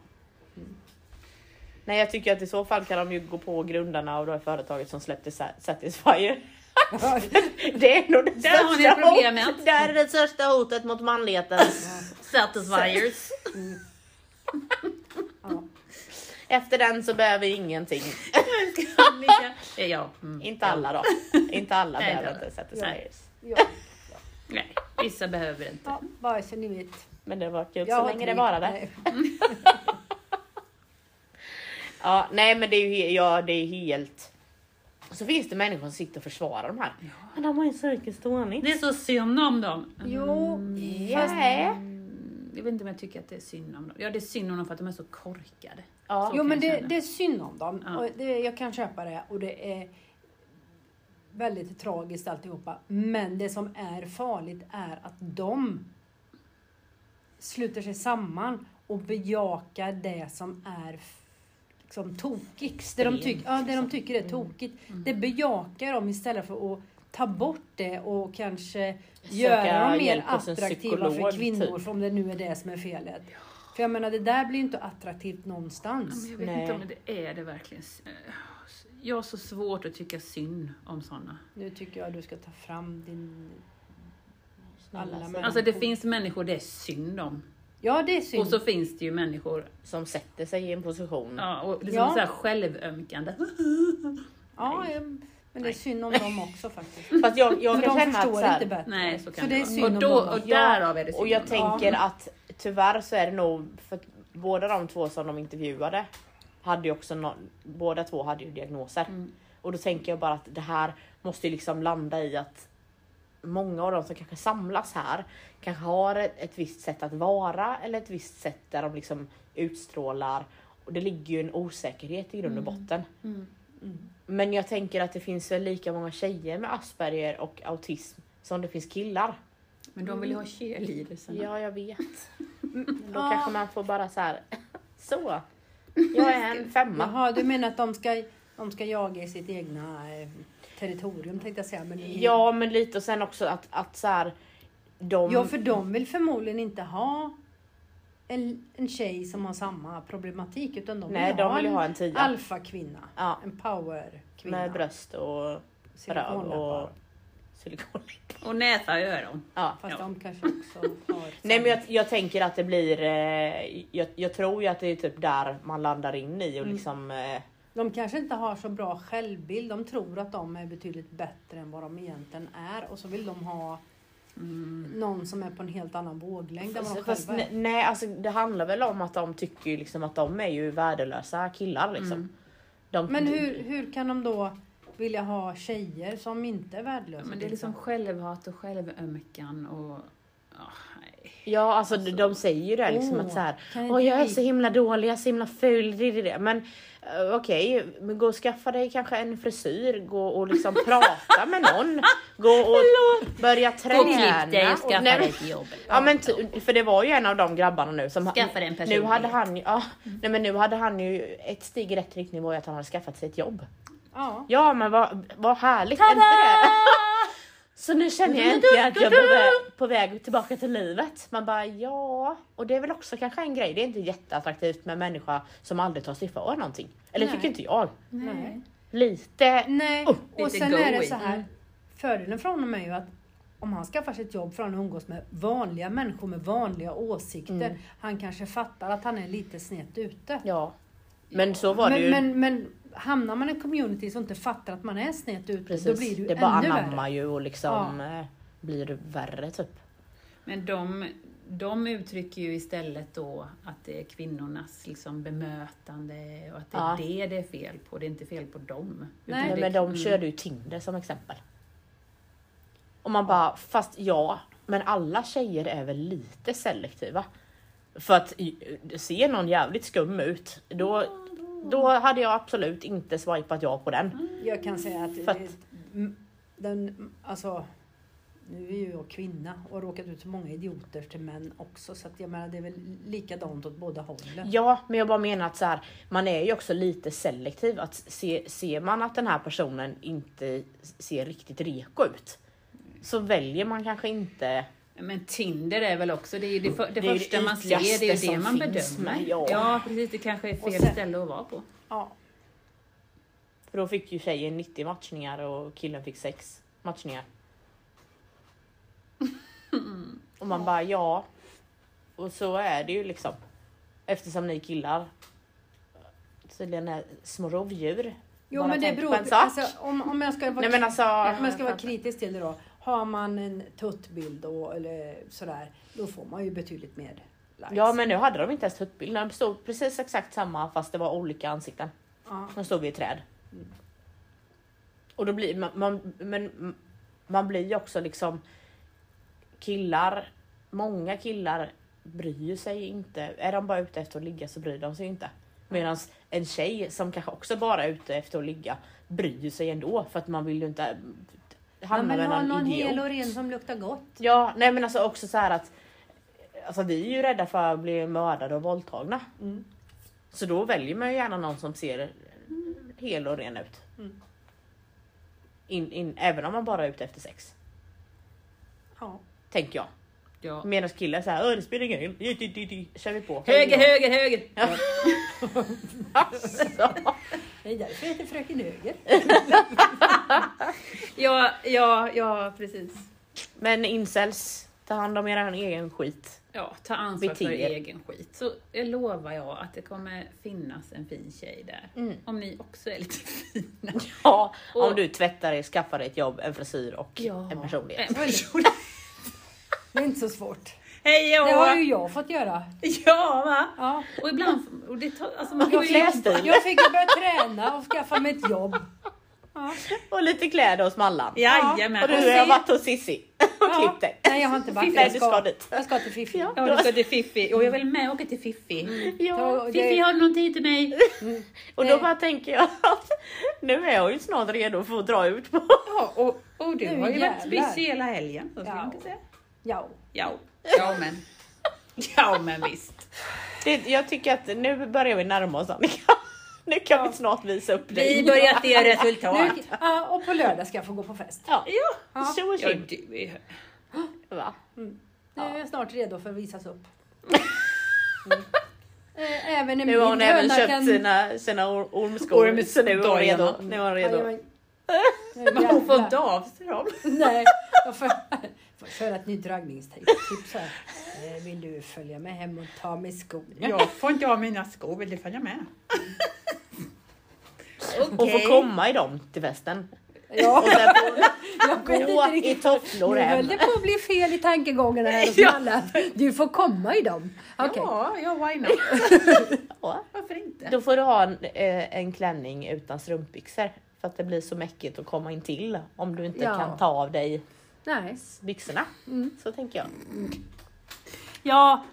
B: Nej jag tycker att i så fall kan de ju gå på grundarna av det här företaget som släppte Sa- Satisfyer. Det är nog det
A: Där har ni problemet.
B: Det här är det största hotet mot manligheten.
A: Satisfiers.
C: Ja.
B: Efter den så behöver vi ingenting.
A: ja. mm.
B: Inte alla då. Inte alla
A: Nej,
B: behöver
A: inte
B: inte sätta
C: Ja.
B: sig
C: Ja,
A: Nej, vissa behöver det inte.
C: ja, bara så ni vet.
B: Men det var kul
C: Jag
B: så
C: har
B: länge det
C: tre.
B: varade.
C: Nej.
B: Ja, nej men det är ju he- ja, det är helt... Så finns det människor som sitter och försvarar de här. Men de har ju psykisk störning.
A: Det är så synd om dem.
C: Jo, fast
B: Yeah.
A: Mm, Jag vet inte om jag tycker att det är synd om dem. Ja, det är synd om dem för att de är så korkade.
B: Ja.
A: Så
C: Jo
A: kan
C: men
A: jag
C: det,
A: känna.
C: det är synd om dem.
A: Ja.
C: Och det, jag kan köpa det och det är väldigt tragiskt alltihopa. Men det som är farligt är att de sluter sig samman och bejakar det som är f- liksom tokigt. Det de, tyck, ja, det de tycker är tokigt. Det bejakar de istället för att ta bort det och kanske
B: Söka
C: göra dem mer
B: hjälp hos en
C: attraktiva för
B: psykolog,
C: kvinnor,
B: typ.
C: för om det nu är det som är felet. För jag menar, det där blir ju inte attraktivt någonstans.
A: Men jag vet
B: Nej.
A: inte om det är det verkligen. eh, Jag har så svårt att tycka synd om sådana.
C: Nu tycker jag du ska ta fram din...
B: Snälla,
C: Alla
B: så-
A: Alltså det finns människor det är synd om.
C: Ja, det är synd.
A: Och så finns det ju människor
B: Som sätter sig i en position.
A: ja, och liksom
C: Ja.
A: så här självömkande.
C: ja, ja, men det är synd om dem också faktiskt.
B: Fast jag, jag
C: För
B: kan
C: de
B: känna
C: förstår
B: att så här,
C: inte bättre.
A: Nej, så kan
C: Så det är synd
A: vara.
C: om
A: Och, då,
C: dem.
A: och
B: Ja,
A: därav är det synd
B: Och
A: om
B: jag
A: dem.
B: tänker att tyvärr så är det nog för att båda de två som de intervjuade hade ju också nå- båda två hade ju diagnoser.
A: Mm.
B: Och då tänker jag bara att det här måste ju liksom landa i att många av de som kanske samlas här kanske har ett, ett visst sätt att vara eller ett visst sätt där de liksom utstrålar. Och det ligger ju en osäkerhet i grund och botten.
A: Mm.
B: Men jag tänker att det finns väl lika många tjejer med Asperger och autism som det finns killar.
A: Men de vill ju ha cheerleadersarna.
B: Ja, jag vet. Då
C: Mm. Ja.
B: kanske man får bara så här. Så. Jag är en femma.
C: Jaha, du menar att de ska, de ska jaga i sitt egna eh, territorium tänkte jag säga. Men
B: Ja, men lite och sen också att, att så här. De,
C: ja, för de vill förmodligen inte ha en, en tjej som har samma problematik utan de
B: nej,
C: vill
B: de
C: ha
B: vill ju
C: en
B: ha en tia.
C: alfakvinna.
B: ja,
C: En powerkvinna.
B: med bröst och röv
C: Silikonläppar.
B: och silikon.
A: Och näsa och öron.
B: Ja.
C: Fast
A: Ja.
C: de kanske också har...
B: Nej men jag, jag tänker att det blir, eh, jag, jag tror ju att det är typ där man landar in i och
C: Mm.
B: liksom eh,
C: De kanske inte har så bra självbild. De tror att de är betydligt bättre än vad de egentligen är. Och så vill de ha
A: Mm.
C: någon som är på en helt annan våglängd än vad de
B: Fast,
C: själva
B: ne-
C: är.
B: nej, alltså det handlar väl om att de tycker ju liksom att de är ju värdelösa killar liksom. De,
C: Mm. Men hur, hur kan de då vilja ha tjejer som inte är värdelösa?
A: Ja, men det är liksom självhat och självömkan och... ja, nej.
B: Ja, alltså de- de säger ju det liksom
C: Åh,
B: att så här,
C: kan
B: Åh,
C: inte
B: jag är
C: vi-
B: så himla dålig, jag är så himla ful. Det, det, det. Men eh, okej, men gå och skaffa dig kanske en frisyr, gå och liksom prata med någon. Gå och börja träna.
A: Och klipp dig och
B: Och-
A: skaffa
B: nej,
A: dig ett jobb.
B: Ja men ty- för det var ju en av de grabbarna nu som
A: Skaffa dig en
B: nu
A: personlighet. Mm.
B: hade han ju, ja, nej men nu hade han ju ett steg i rätt riktning var ju att han hade skaffat sig ett jobb.
C: Ja.
B: Ja men vad, vad härligt, är inte det? Så nu känner jag äntligen att jag är på väg, på väg tillbaka till livet. Man bara ja, och det är väl också kanske en grej. Det är inte jätteattraktivt med en människa som aldrig tar sig för någonting. Eller
C: Nej.
B: tycker inte jag.
C: Nej.
B: Lite.
C: Nej.
B: Oh,
C: och
A: lite
C: sen är det
A: goey.
C: så här. fördelen för honom är ju att om han skaffar sig ett jobb får han umgås med vanliga människor med vanliga åsikter.
B: Mm.
C: Han kanske fattar att han är lite snett ute.
B: Ja. Men så var det
C: Men,
B: ju.
C: men, men hamnar man i en community som inte fattar att man är snett ute,
B: Precis.
C: då blir det ju
B: det bara
C: ännu värre.
B: anammar ju och liksom eh, blir värre typ.
A: Men de, de uttrycker ju istället då att det är kvinnornas liksom bemötande och att det är
B: Ja.
A: det det är fel på. Det är inte fel på dem. Utan
C: Nej,
B: Nej,
A: det,
B: men de
A: mm.
B: körde ju Tinder som exempel. Och man bara, fast ja, men alla tjejer är väl lite selektiva. För att eh, ser någon jävligt skum ut, då, då hade jag absolut inte swipat ja på den.
C: Jag kan säga att
B: För att-
C: det- m- den, alltså, nu är ju jag kvinna och har råkat ut för många idioter till män också så att jag menar det är väl likadant åt båda hållen.
B: Ja, men jag bara menar att så här, man är ju också lite selektiv. Att se, ser man att den här personen inte ser riktigt reko ut, så väljer man kanske inte
A: Men Tinder är väl också, det är ju det, för, det,
B: Det är ju det
A: första man ser,
B: ytligaste
A: det är ju det
B: som
A: man
B: finns,
A: bedömer.
B: men ja.
A: precis, det kanske är
C: Och
A: fel
C: sen-
A: ställe att vara på.
C: Ja,
B: För då fick ju tjejen 90 matchningar och killen fick 6 matchningar. Och man bara ja. Och så är det ju liksom. Eftersom ni killar tydligen är små rovdjur.
C: jo,
B: Bara
C: men det
B: tänk
C: beror
B: på en
C: på,
B: sak.
C: alltså, om, om jag ska vara,
B: Nej men alltså.
C: om jag ska vara kritisk till det då. Har man en tuttbild då, eller sådär, då får man ju betydligt mer likes.
B: Ja men nu hade de inte ens tuttbild. De stod precis exakt samma fast det var olika ansikten.
C: Ja.
B: De stod vid ett träd.
C: Mm.
B: Och då blir man, man, men man blir ju också liksom killar, många killar bryr ju sig inte. Är de bara ute efter att ligga så bryr de sig inte. Medan en tjej som kanske också bara är ute efter att ligga bryr sig ändå för att man vill ju inte
C: Man
B: hamna
C: vill
B: med
C: ha
B: någon,
C: någon
B: idiot.
C: hel och ren som luktar gott.
B: Ja, nej men alltså också så här att alltså vi är ju rädda för att bli mördade och våldtagna.
C: Mm.
B: Så då väljer man ju gärna någon som ser hel och ren ut.
C: Mm.
B: In, in, även om man bara är ute efter sex,
C: Ja.
B: tänker jag.
A: Ja.
B: Medan killar säger "Åh, det spelar ingen roll, Di, di, di, di. kör vi på.
A: Höger, höger, höger!
B: Alltså.
C: Det är därför jag heter Fröken Höger.
A: Ja, ja, ja, precis.
B: Men incels, ta hand om er egen skit.
A: Ja, ta ansvar för
B: Beter.
A: egen skit. Så jag lovar jag att det kommer finnas en fin tjej där. Om ni också är lite fina.
B: Ja, om
A: Mm. Och-
B: du tvättar dig, skaffar dig ett jobb, en frisyr och
A: Ja.
B: en personlighet.
A: En person.
C: Det är inte så svårt.
A: Hej
C: Det har
A: då!
C: ju jag fått göra.
A: Ja, va?
C: Ja.
A: Och ibland... Och det tar, alltså man får
B: Och
A: ju,
B: klädstil
C: Jag fick ju börja träna och skaffa mig ett jobb. Ja.
B: och lite kläder hos mallan.
A: jajamän!
B: Och du
C: Precis.
B: har varit hos Cissi och
C: Ja.
B: klippt dig.
C: Nej, jag har inte varit
B: Nej,
C: Jag
B: du ska dit.
C: Jag ska till Fifi.
B: Ja.
A: Ja, du ska till Fiffi. Och jag vill med åka till Fiffi.
C: Ta- det-
A: Fiffi, har du någon tid till mig?
B: Och
C: Eh.
B: då bara tänker jag att nu är jag ju snart redo för att dra ut på.
A: Ja, och, och du
C: Nu
A: har ju varit
C: jävlar.
A: busy hela helgen. Så ska man kunna säga.
C: Ja.
A: Ja, ja men. Ja men visst.
B: Det, jag tycker att nu börjar vi närma oss Annika. Nu kan vi snart visa upp dig.
A: Vi börjar se resultat.
C: Nu, ja, och på lördag ska jag få gå på fest.
B: Ja,
C: Ja.
B: tjo och
A: Ja,
B: tjim.
A: du är...
B: Va?
C: Nu är jag snart redo för att visas upp. Eh, Även en
B: Nu har hon
C: mindre
B: även
C: höna
B: köpt
C: kan-
B: sina, sina or- ormskor. så nu är hon
A: Ormsdojorna.
B: redo. Nu är hon redo.
C: Ja, men-
A: Men hon får
C: Jävlar.
A: inte av sig dem.
C: Nej, jag får, får köra ett nytt raggningstips här. Eh, Vill du följa med hem och ta mig skon?
A: Jag får inte av mina skor, vill du följa med? Okej.
B: Hon får komma i dem till festen.
C: Ja,
B: Och sen får
C: jag
B: hon
C: vet
B: gå
C: inte
B: i
C: riktigt.
B: tofflor
C: Nu höll
B: hem.
C: det på att bli fel i tankegångarna här hos alla. Du får komma i dem. Okej.
A: Ja, ja, why not?
B: Ja.
A: Varför inte?
B: Då får du ha en, eh, en klänning utan strumpbyxor. För att det blir så mäckigt att komma in till om du inte
C: Ja.
B: kan ta av dig
C: Nej.
B: byxorna. Så tänker jag.
A: Ja,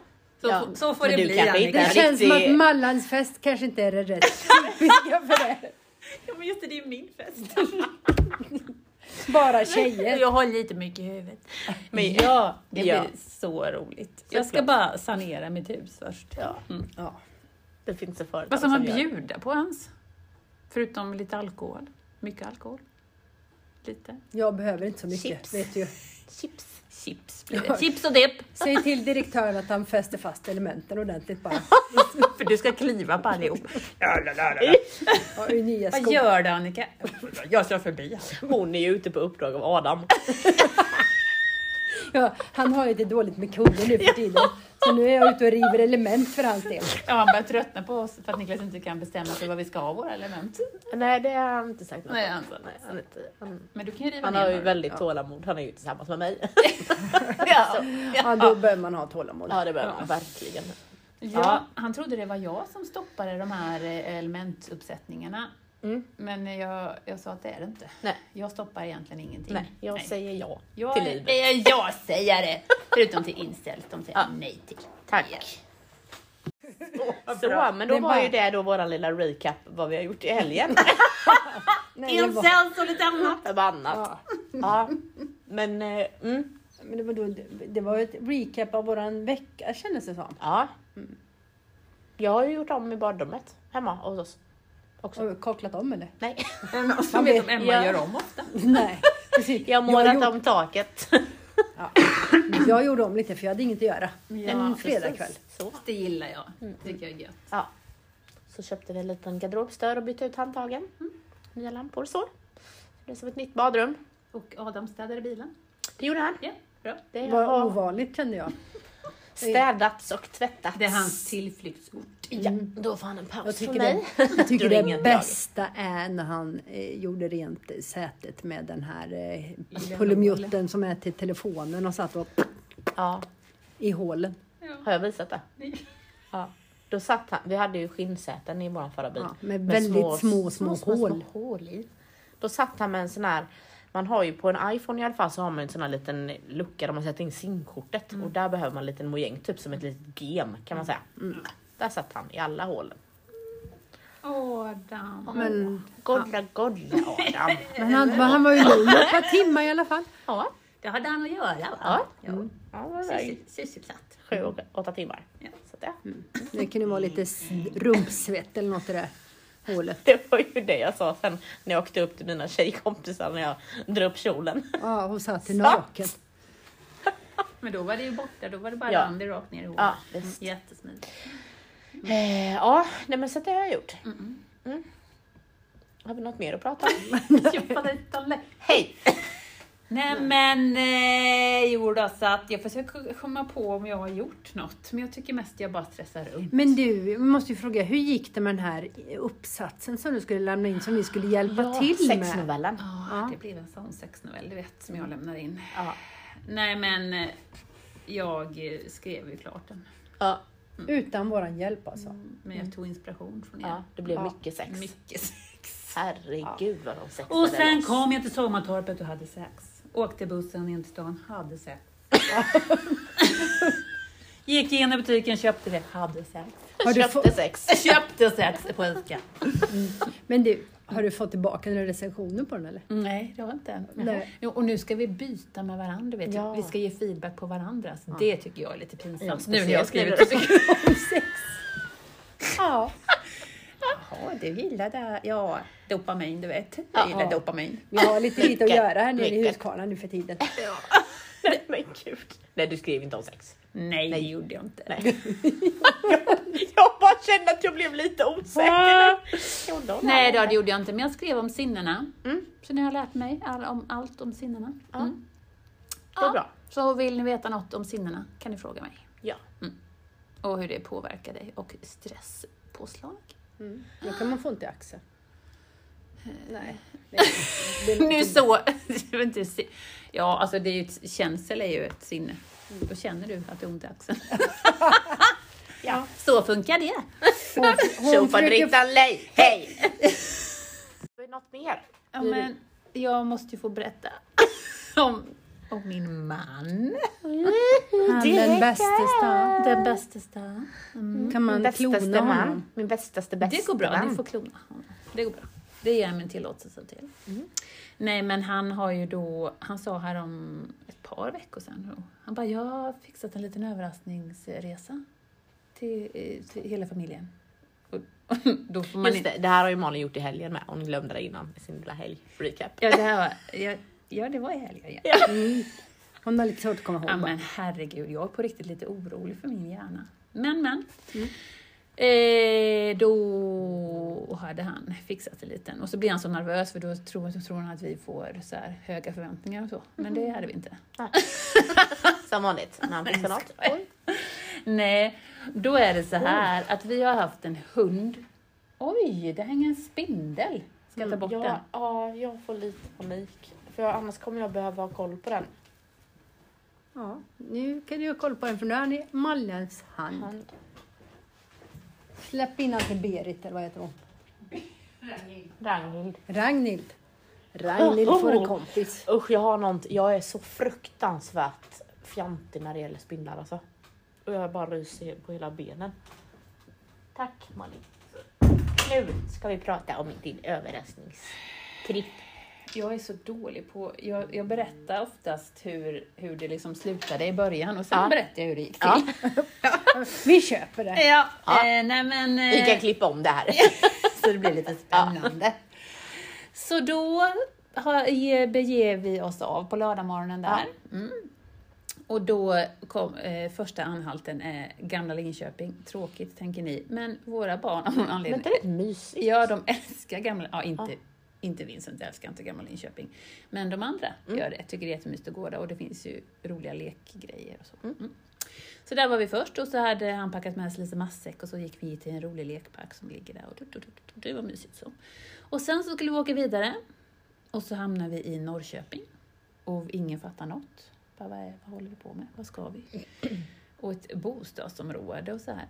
A: så,
C: Ja.
A: f- så får
B: Men
A: det
B: du
A: bli
B: kanske
A: Annika.
B: inte
C: Det
B: är
C: känns som
B: riktig-
C: att Mallans fest kanske inte är det rätt typiska för det.
A: Ja, men just det, det är min fest.
C: Bara tjejer.
A: har lite mycket i huvudet.
B: Men-
A: ja, det
B: Ja.
A: blir så roligt. jag ska bara sanera mitt hus först. Mm. Alltså,
B: Ja.
C: Ja.
B: Det finns det företag
A: Vad ska man
B: gör.
A: bjuda på ens? Förutom lite alkohol. Mycket alkohol. lite.
C: Jag behöver inte så mycket,
B: Chips.
C: vet du.
B: Chips.
A: Chips blir det. Chips och dipp!
C: Säg till direktören att han fäster fast elementen ordentligt bara.
A: För du ska kliva på allihop.
C: Ja, i nya
A: Vad
C: skor.
A: gör du Annika? Jag kör förbi. alltså.
B: Hon är ju ute på uppdrag av Adam.
C: Ja, han har ju lite dåligt med koder nu för tiden. Så nu är jag ute och river element för hans del.
A: Ja, han börjar tröttna på oss för att Niklas inte kan bestämma sig vad vi ska ha våra element.
B: Nej det har han inte sagt något
A: Nej,
B: om.
A: han sa inte.
B: Nej, han, är inte, han,
A: Men du kan ju riva
B: han
A: ner
B: har ju
A: några.
B: väldigt
A: Ja.
B: tålamod, han är ju tillsammans med mig.
A: Ja.
C: Ja, då behöver man ha tålamod.
B: Ja det behöver
A: Ja.
B: man verkligen.
A: Ja, han trodde det var jag som stoppade de här eh, elementuppsättningarna.
B: Mm.
A: Men jag, jag sa att det är det inte.
B: Nej.
A: Jag stoppar egentligen ingenting.
B: Nej, jag
A: Nej.
B: säger ja
A: jag,
B: till livet.
A: eh, jag säger det! Förutom till incels, de säger
B: Ja.
A: nej till. Ja.
B: Tack. Så, men då
C: Det
B: var
C: är bara-
B: ju det då våran lilla recap vad vi har gjort i helgen.
C: Nej, det var,
A: Incels och lite annat.
B: Det var annat.
C: ja,
B: Ja. Men eh, mm,
C: men det, var då, det var ju ett recap av våran vecka kändes det som.
B: ja. Mm. Jag har ju gjort om i badrummet hemma hos oss. Också.
C: Har du kaklat om eller?
B: Nej.
A: Någon
C: Man
A: som alltså, vet
C: vet-
A: om Emma
B: ja.
A: gör om ofta.
C: Nej. precis.
B: Jag har målat
C: gjorde-
B: om taket.
C: Ja. Jag gjorde om lite för jag hade inget att göra. en fredagkväll.
B: Så.
A: Det gillar jag.
B: Mm.
A: tycker jag är gött.
B: Ja. Så köpte vi en liten garderobsdörr och bytte ut handtagen. Mm. Nya lampor och så. Det är som ett nytt badrum.
A: Och Adam städade bilen.
B: Det gjorde han.
A: Ja, bra.
B: Det
C: Det
B: har
C: var ovanligt kände jag.
B: städats och tvättats.
A: Det är hans tillflyktsort.
B: Ja, då får han en paus
C: Mm.
B: från
C: Jag tycker
B: mig.
C: det, jag tycker
B: Då
C: det
B: ringer
C: bästa är när han eh, gjorde rent i sätet med den här eh, pullemjutten som är till telefonen och satt och
B: Ja,
C: i hålen.
B: har jag visat det?
A: Nej.
B: Ja. Då satt han, vi hade ju skinnsäten i våran förra bil.
C: Ja, med väldigt små, små hål.
B: små hål i. Då satt han med en sån här, man har ju på en iPhone i alla fall så har man en sån här liten lucka där man sätter in simkortet
A: Mm.
B: och där behöver man en liten mojäng, typ som ett litet gem kan man säga.
C: Mm.
B: Där satt han i alla hålen.
A: Adam.
C: Men,
B: Golla golla Adam.
C: men han, han var ju lugn ett par timmar i alla fall.
B: ja,
A: Det hade han att göra va?
B: Ja.
A: Mm.
B: ja, det var ju
A: Susie- Susie platt.
B: sju, och åtta timmar.
A: Ja.
B: Så att, ja.
C: Det kunde vara lite s- rumpsvett eller något i det där hålet.
B: Det var ju det jag sa sen när jag åkte upp till mina tjejkompisar när jag drar upp kjolen.
C: Ja, hon satt naken.
A: Men då var det ju borta, då var det bara
B: Ja.
A: Andy rakt ner i hålet.
B: Ja, visst.
A: Jättesmidigt.
B: Eh, ja, nej men så det har jag gjort. Mm. Har vi något mer att prata om?
A: Tjoffade i tolle.
B: Hej!
A: Nej men, eh, jo då, så att jag försöker komma på om jag har gjort något. Men jag tycker mest jag bara stressar runt.
C: Men du, vi måste ju fråga, hur gick det med den här uppsatsen som du skulle lämna in som vi skulle hjälpa till med?
B: sexnovellen.
A: Ja, det blev en sån sexnovell, du vet, som jag lämnar in. Nej men, eh, jag eh, skrev ju klart den.
B: Ja,
C: Utan våran hjälp alltså.
A: Men jag tog inspiration från er.
B: ja, det blev
C: Ja.
B: mycket sex.
A: Mycket sex.
B: Herregud vad de sexade
A: Och sen
B: loss.
A: kom jag till sommartorpet och hade sex. Åkte bussen in till stan, hade sex. Gick in i butiken, köpte det, hade sex.
C: Har du
B: Köpte
C: fått-
B: sex.
A: Köpte sex på Ica.
C: Men du, har du fått tillbaka några recensioner på den eller?
A: Nej, det var inte än.
C: Nej.
A: Jo, Och nu ska vi byta med varandra, vet du.
B: Ja.
A: Vi ska ge feedback på varandra. Så Det tycker jag är lite pinsamt.
B: Ja,
A: nu när jag skriver
B: speciellt
A: det.
C: Om sex. Ja.
A: Jaha, du gillade... Ja, dopamin, du vet.
B: Ja.
A: Jag gillar dopamin.
C: Vi har lite lite att
B: Mycket,
C: göra här nere i
B: mycket.
C: Huskvarna nu för tiden.
B: Nej men gud. Nej du skrev inte om sex.
A: Nej, det gjorde jag inte.
B: Nej. jag, jag bara kände att jag blev lite osäker. Gjorde hon
A: Nej
B: det?
A: då, det gjorde jag inte, men jag skrev om sinnena.
B: Mm.
A: Så nu har jag lärt mig all, om, allt om sinnena.
B: Ja.
A: Mm.
B: Det är bra.
A: Så vill ni veta något om sinnena kan ni fråga mig. Mm.
B: Ja.
A: Och hur det påverkar dig och stresspåslag.
C: Mm. Då kan man få ont i axeln.
A: Nej.
C: Nej, det är
A: Nu
C: lite-
A: så... det var inte si- ja, alltså det är ju ett, känsel är ju ett sinne. Då känner du att det är ont i axeln.
B: Ja.
A: Så funkar det.
C: Hon, hon försöker,
B: Tjofaderittan lej, hej! Har vi något mer?
A: Ja, men jag måste ju få berätta om, om min man.
C: han den bästa stan.
A: Den bästa stan.
C: Kan man klona honom?
B: Min bästaste bästa
A: Det går bra,
B: man.
A: ni får klona honom. Det går bra. Det ger jag min tillåtelse till. Nej, men han har ju då, han sa här om ett par veckor sedan, då. han bara, jag har fixat en liten överraskningsresa till, eh, till hela familjen. Då får man
B: Just
A: inte...
B: det, det här har ju Malin gjort i helgen med. Hon glömde det innan i sin lilla helg recap.
A: Ja, det här var... Ja, ja det var i helgen. Ja.
E: Mm. Hon har lite svårt att komma ihåg.
A: Ja,
E: bara.
A: men herregud, jag är på riktigt lite orolig för min hjärna. Men, men.
E: Mm.
A: Eh, då hade han fixat det lite. Och så blir han så nervös för då tror, så tror han att vi får så här höga förväntningar och så. Men det hade vi inte.
B: Som vanligt när han fixar något. Oj.
A: Nej, då är det så här att vi har haft en hund. Oj, det hänger en spindel. Ska jag ta bort den?
B: Mm, Ja, ja, jag får lite panik. För jag, annars kommer jag behöva ha koll på den.
E: Ja, nu kan du ha koll på den för nu har ni Mallens hand.
B: Han,
E: Släpp in han till Berit eller vad heter hon?
B: Ragnhild.
E: Ragnhild. Ragnhild
B: Oh, oh.
E: får en kompis.
B: Usch, jag har något. Jag är så fruktansvärt fjantig när det gäller spindlar alltså. Och jag bara ryser på hela benen. Tack Malin. Nu ska vi prata om din överraskningstripp.
A: Jag är så dålig på... Jag, jag berättar oftast hur, hur det liksom slutade i början och sen
B: Ja.
A: berättar jag hur det gick till.
B: Ja.
E: Vi köper det.
A: Ja,
B: Ja.
A: Eh, nej men...
B: Vi
A: Eh,
B: kan klippa om det här.
A: så det blir lite spännande. Så då har, ge- beger vi oss av på lördagsmorgonen där. Mm. Och då kom eh, första anhalten eh, Gamla Linköping. Tråkigt tänker ni, men våra barn av någon anledning...
B: Vänta, det är mysigt.
A: Ja, de älskar gamla... Ja, inte, inte Vincent älskar inte gamla Linköping. Men de andra gör det. Tycker det är jättemysigt att gå där och det finns ju roliga lekgrejer och så. Mm. Så där var vi först och så hade han packat med sig lite matsäck och så gick vi till en rolig lekpark som ligger där och du, du, du, du, det var mysigt så. Och sen så skulle vi åka vidare och så hamnade vi i Norrköping och ingen fattar något. Bara, vad, är, vad håller vi på med? Vad ska vi? Och ett bostadsområde och så här.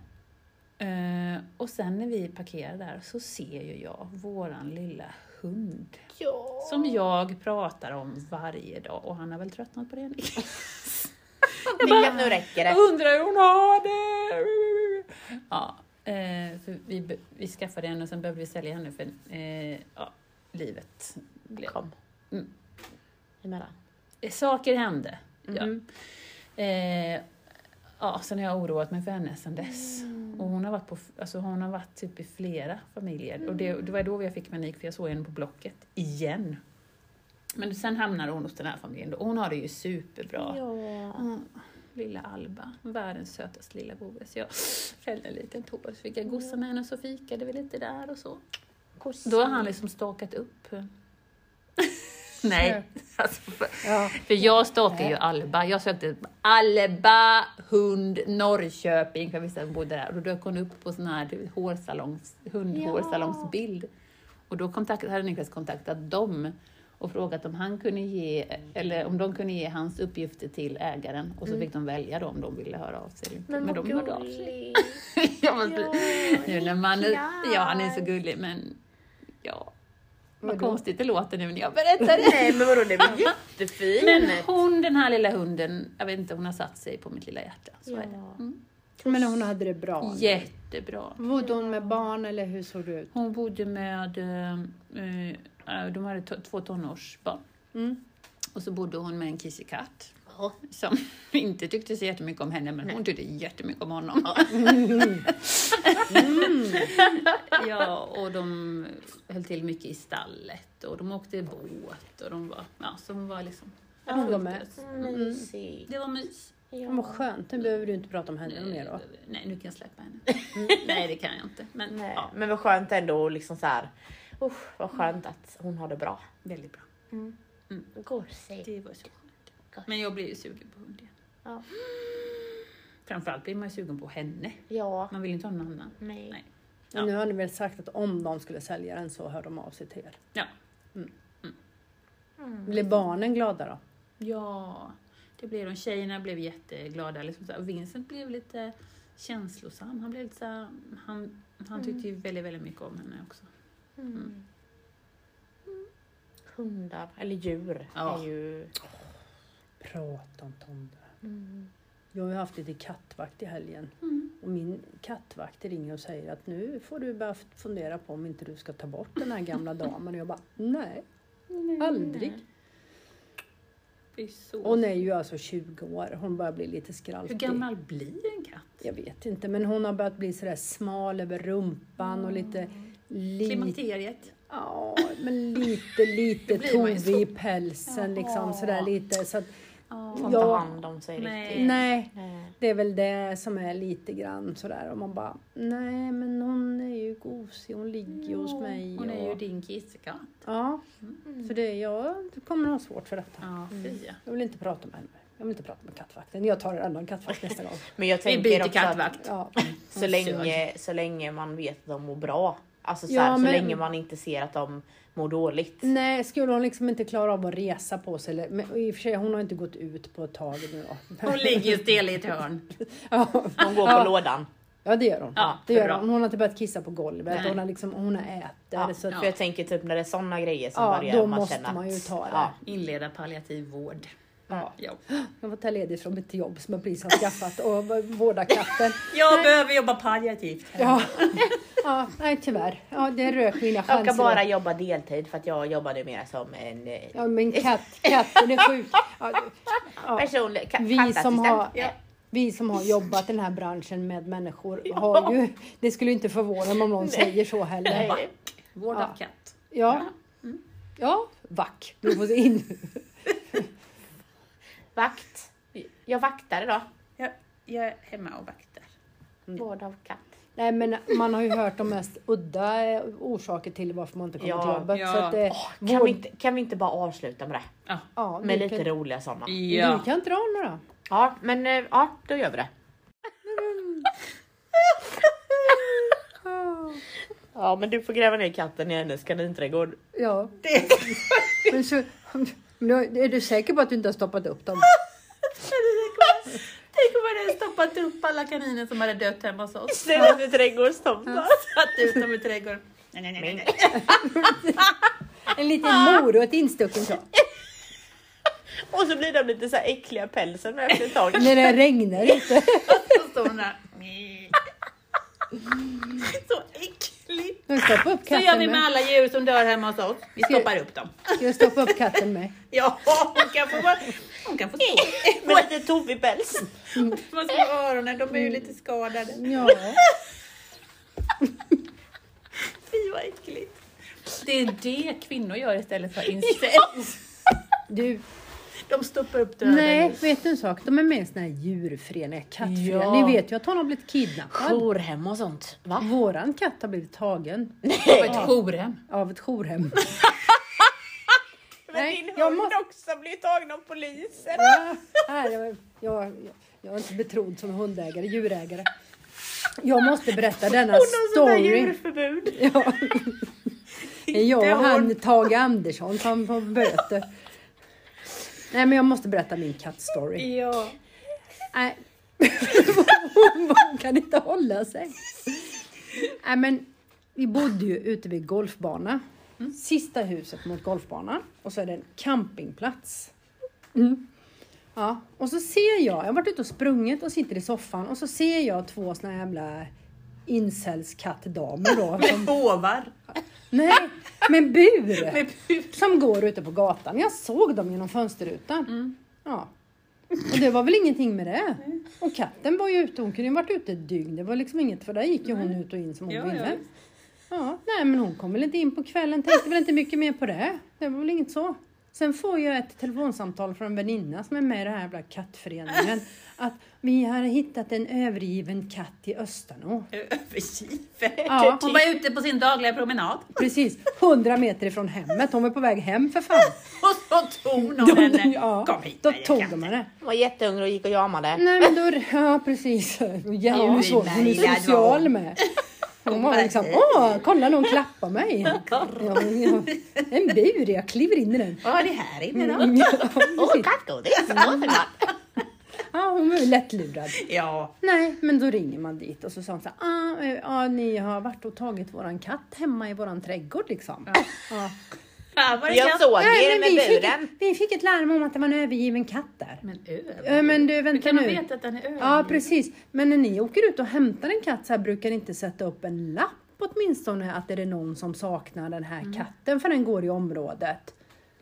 A: Eh, och sen när vi parkerar där så ser ju jag våran lilla hund. Som jag pratar om varje dag och han har väl tröttnat på det.
B: Mickan, nu räcker det.
A: Undrar hur hon har det! Ja, eh, för vi, be- vi skaffade henne och sen behövde vi sälja henne för eh, ja, livet blev
B: Kom.
A: Mm.
B: Emellan.
A: saker hände. Mm. Ja. Eh, ja, sen har jag oroat mig för henne sedan dess. Och hon har varit, på, alltså hon har varit typ i flera familjer. Och det, det var då jag fick panik för jag såg henne på Blocket igen. Men sen hamnade hon hos den här familjen då. och hon har det ju superbra.
B: Ja.
A: Mm. Lilla Alba, världens sötaste lilla govis. Jag fällde en liten tår så fick jag gossa med henne och så fikade vi lite där och så. Då har han liksom stakat upp. Nej, alltså, för-
E: Ja.
A: för jag stakade ju Alba. Jag sökte Alba hund Norrköping, för jag visste att hon bodde där. Och då dök hon upp på sån här du vet, hårsalongs, hundhårsalongsbild. Och då kontakt, hade Niklas kontaktat dem och frågat om han kunde ge, eller om de kunde ge hans uppgifter till ägaren. Och så fick de välja då om de ville höra av sig eller inte. Men de hörde av sig. Jag måste, nu när man, ja, han är så gullig, men ja. Vad konstigt det låter nu när jag berättar det.
B: Nej men vadå, det var jättefint.
A: Men hon, den här lilla hunden, jag vet inte, hon har satt sig på mitt lilla hjärta. Så är det.
E: Men hon hade det bra.
A: Jättebra.
E: Bodde hon med barn eller hur såg det ut?
A: Hon bodde med, eh, eh, de hade to- två tonårsbarn.
E: Mm.
A: Och så bodde hon med en kissekatt. Som inte tyckte så jättemycket om henne, men hon tyckte jättemycket om honom.
E: Mm.
A: ja, och de höll till mycket i stallet och de åkte båt och de var, ja, så hon var liksom...
E: Hon var med.
B: Mysigt.
A: Det var mys. Eh,
E: Ja, Vad skönt, nu behöver du inte prata om henne mer då. Mm.
A: Nej, nu kan jag släppa henne. Nej, det kan jag inte. Men
B: Nej,
A: ja,
B: Men vad skönt ändå liksom så här. Usch, vad
A: Mm.
B: skönt att hon har det bra. Mm.
A: väldigt bra.
B: Gosigt.
A: Mm. Det var så skönt. Men jag blir ju sugen på hund igen.
B: Ja.
A: Framförallt blir man ju sugen på henne.
B: Ja.
A: Man vill ju inte ha någon annan.
B: Nej.
A: Nej.
E: Men nu har ni väl sagt att om de skulle sälja den så hör de av sig till er.
A: Ja.
E: Blev barnen glada då?
A: Ja, det blev de. Tjejerna blev jätteglada. Liksom så här. Och Vincent blev lite känslosam. Han, blev lite så här, han, han tyckte ju väldigt, väldigt mycket om henne också. Mm.
B: Mm. Hundar, eller djur,
A: Ja.
B: är ju...
E: Prata om tomten.
A: Mm.
E: Jag har ju haft lite kattvakt i helgen.
C: Mm.
E: Och min kattvakt ringer och säger att nu får du börja fundera på om inte du ska ta bort den här gamla damen. Och jag bara, nej, aldrig.
A: Det är så
C: Hon är ju alltså 20 år, hon börjar bli lite skraltig.
A: Hur gammal blir en katt?
C: Jag vet inte, men hon har börjat bli sådär smal över rumpan och lite...
A: Mm.
C: Lite,
A: Klimakteriet?
C: ja, men lite, lite
A: blir man ju
C: tovig i pälsen liksom sådär lite. Så att,
B: Får inte
C: Ja.
B: hand om sig
A: Nej.
B: riktigt.
C: nej,
B: Nej.
C: det är väl det som är lite grann sådär och man bara, nej men hon är ju gosig, hon ligger ju hos mig.
A: Hon är ju Mm.
C: och,
A: din kissekatt.
C: ja, så det, jag kommer ha svårt för detta.
A: Ja, fy.
C: Jag vill inte prata med henne. Jag vill inte prata med kattvakten. Jag tar en annan kattvakt nästa gång.
B: Men jag
A: Vi
B: tänker
A: byter
B: också att-
A: kattvakt.
C: Ja.
B: Så
C: Mm,
B: länge, så länge man vet att de mår bra. Alltså så,
C: Ja,
B: här, så
C: men- Mm.
B: länge man inte ser att de mår dåligt.
C: Nej, skulle hon liksom inte klara av att resa på sig? Eller, men i och för sig, hon har inte gått ut på ett tag nu då.
A: Hon ligger ju stel i ett hörn.
C: ja,
B: De går på
C: Ja.
B: lådan.
C: ja, det gör hon.
A: Ja,
C: det
A: för
C: gör
A: bra.
C: hon. hon har inte börjat kissa på golvet.
A: Nej.
C: Hon har, liksom, hon har ätit.
B: Ja,
C: så att,
B: För jag tänker typ när det är sådana grejer som
C: Ja,
B: börjar
C: då
B: och man
C: måste
B: känner att...
C: man ju ta det.
B: Ja,
A: Inleda palliativ vård.
C: ja.
A: Ja.
C: Jag får ta ledigt från mitt jobb som jag precis har skaffat och vårda katten.
A: Jag behöver jobba palliativt.
C: Ja. ja, nej tyvärr. Ja, det rök mina
B: jag
C: chanser.
B: kan bara jobba deltid för att jag jobbar nu mer som en eh,
C: Ja, men katt, katten är sjuk. Ja, ja.
B: personlig ka-
C: vi
B: kattassistent.
C: som, har,
B: Ja.
C: vi som har jobbat i den här branschen med människor har ju... Det skulle ju inte förvåna mig om någon säger så heller.
B: Nej.
A: Vård
C: Ja.
A: av katt.
C: Ja. Ja, vack. Du får se in.
B: Vakt. Jag vaktar idag.
A: Jag, jag är hemma och vaktar.
B: Vård av katt.
C: Nej, men man har ju hört de mest udda eh, orsaker till varför man inte kommer
B: Ja,
C: till jobbet.
A: ja.
C: Så att, eh,
B: Kan
C: vår-
B: vi, inte, kan vi inte bara avsluta med det?
C: ja,
B: Med
C: du
B: lite
C: kan,
B: roliga sådana.
C: Du kan dra några.
B: Ja, men eh, ja, då gör vi det. Ja, men du får gräva ner katten i hennes kaninträdgård.
C: Ja. Men så, men då- är du säker på att du inte har stoppat upp dem?
A: Tänk om man hade stoppat upp alla kaniner som hade dött hemma hos oss.
B: Istället för trädgårdstomtar.
A: Satt ut dem i trädgården. Nej, nej, nej, nej, nej.
C: En liten morot instucken så.
B: Och så blir de lite så här äckliga i pälsen efter ett tag.
C: När det regnar ute.
A: Och så hon där. Nej. Så äckligt.
C: Men Stoppa upp
A: Så
C: katten
A: gör vi med
C: med.
A: alla djur som dör hemma hos oss. Vi
C: Ska-
A: stoppar upp dem.
C: Ska jag stoppa upp katten med?
A: Ja, hon kan få vara... Hon kan få
B: Med lite tovig päls.
A: Vad ska öronen? De är ju lite skadade.
C: Ja.
A: Fy vad äckligt. Det är det kvinnor gör istället för incest.
C: Du,
A: De stoppar upp döden.
C: nej, vet du en sak? De är med i såna här djurföreningar, kattföreningar.
B: Ja.
C: Ni vet ju att hon har blivit kidnappad.
B: Jourhem och sånt. Va?
C: Våran katt har blivit tagen
A: På ett jourhem.
C: av ett jourhem.
B: Men
C: Nej,
B: din
C: jag
B: hund också blir tagen av polisen.
C: Ja, här, jag, jag, jag är inte betrodd som hundägare, djurägare. Jag måste berätta denna
B: Hon har sånt där
C: story.
B: djurförbud.
C: Ja. Jag och
A: hon.
C: han Tage Andersson som på böter. Nej men jag måste berätta min kattstory.
A: Ja.
C: Nej. Hon kan inte hålla sig. Nej men vi bodde ju ute vid golfbana.
A: Mm.
C: Sista huset mot golfbanan och så är det en campingplats. Mm. Ja, och så ser jag, jag har varit ute och sprungit och sitter i soffan och så ser jag två såna jävla incelskattdamer då. som-
A: Med bovar.
C: Nej, men bur!
A: Med put.
C: Som går ute på gatan. Jag såg dem genom fönsterrutan. Ja. Och det var väl ingenting med det. Och katten var ju ute, hon kunde ju varit ute ett dygn. Det var liksom inget, för där gick ju hon ut och in som hon
A: Ja, ja,
C: ville.
A: visst.
C: Ja, nej men hon kom väl inte in på kvällen, tänkte väl inte mycket mer på det. Det var väl inget så. Sen får jag ett telefonsamtal från en väninna som är med i den här jävla kattföreningen. Att vi har hittat en övergiven katt i Östanå.
A: Övergiven.
C: Ja.
A: Hon var ute på sin dagliga promenad.
C: Precis, 100 meter ifrån hemmet. Hon var på väg hem för fan.
A: Och så tog någon henne.
C: ja,
A: eh, Kom hit
C: då
A: med dig,
C: tog
A: katten.
C: de henne.
B: Hon var jättehungrig och gick och jamade.
C: Nej men då, ja precis. Ja, hon är så, hon är social med. Hon var liksom, åh, kolla någon klappar mig. Ja, hon- ja, en bur, jag kliver in i den. Mm,
A: Vad har du här inne då?
C: Ja,
B: Åh,
C: precis.
B: kattgodis! Åh, så gott.
C: Ja, hon var ju lättlurad.
A: Ja.
C: Nej, men då ringer man dit och så sa hon så här, ah, eh, ja, ni har varit och tagit våran katt hemma i våran trädgård liksom. Ja.
A: Här var det
B: Jag
A: katt.
B: såg er
C: Nej, men vi,
B: med
C: fick,
B: buren.
C: vi fick ett larm om att det var en övergiven katt där.
A: Men
C: Ja,
A: övergiven.
C: men du,
A: Hur
C: vänta
A: kan
C: nu.
A: de veta att den är övergiven?
C: Ja, precis. Men när ni åker ut och hämtar en katt så här brukar ni inte sätta upp en lapp
A: Mm.
C: åtminstone att är det någon som saknar den här katten för den går i området.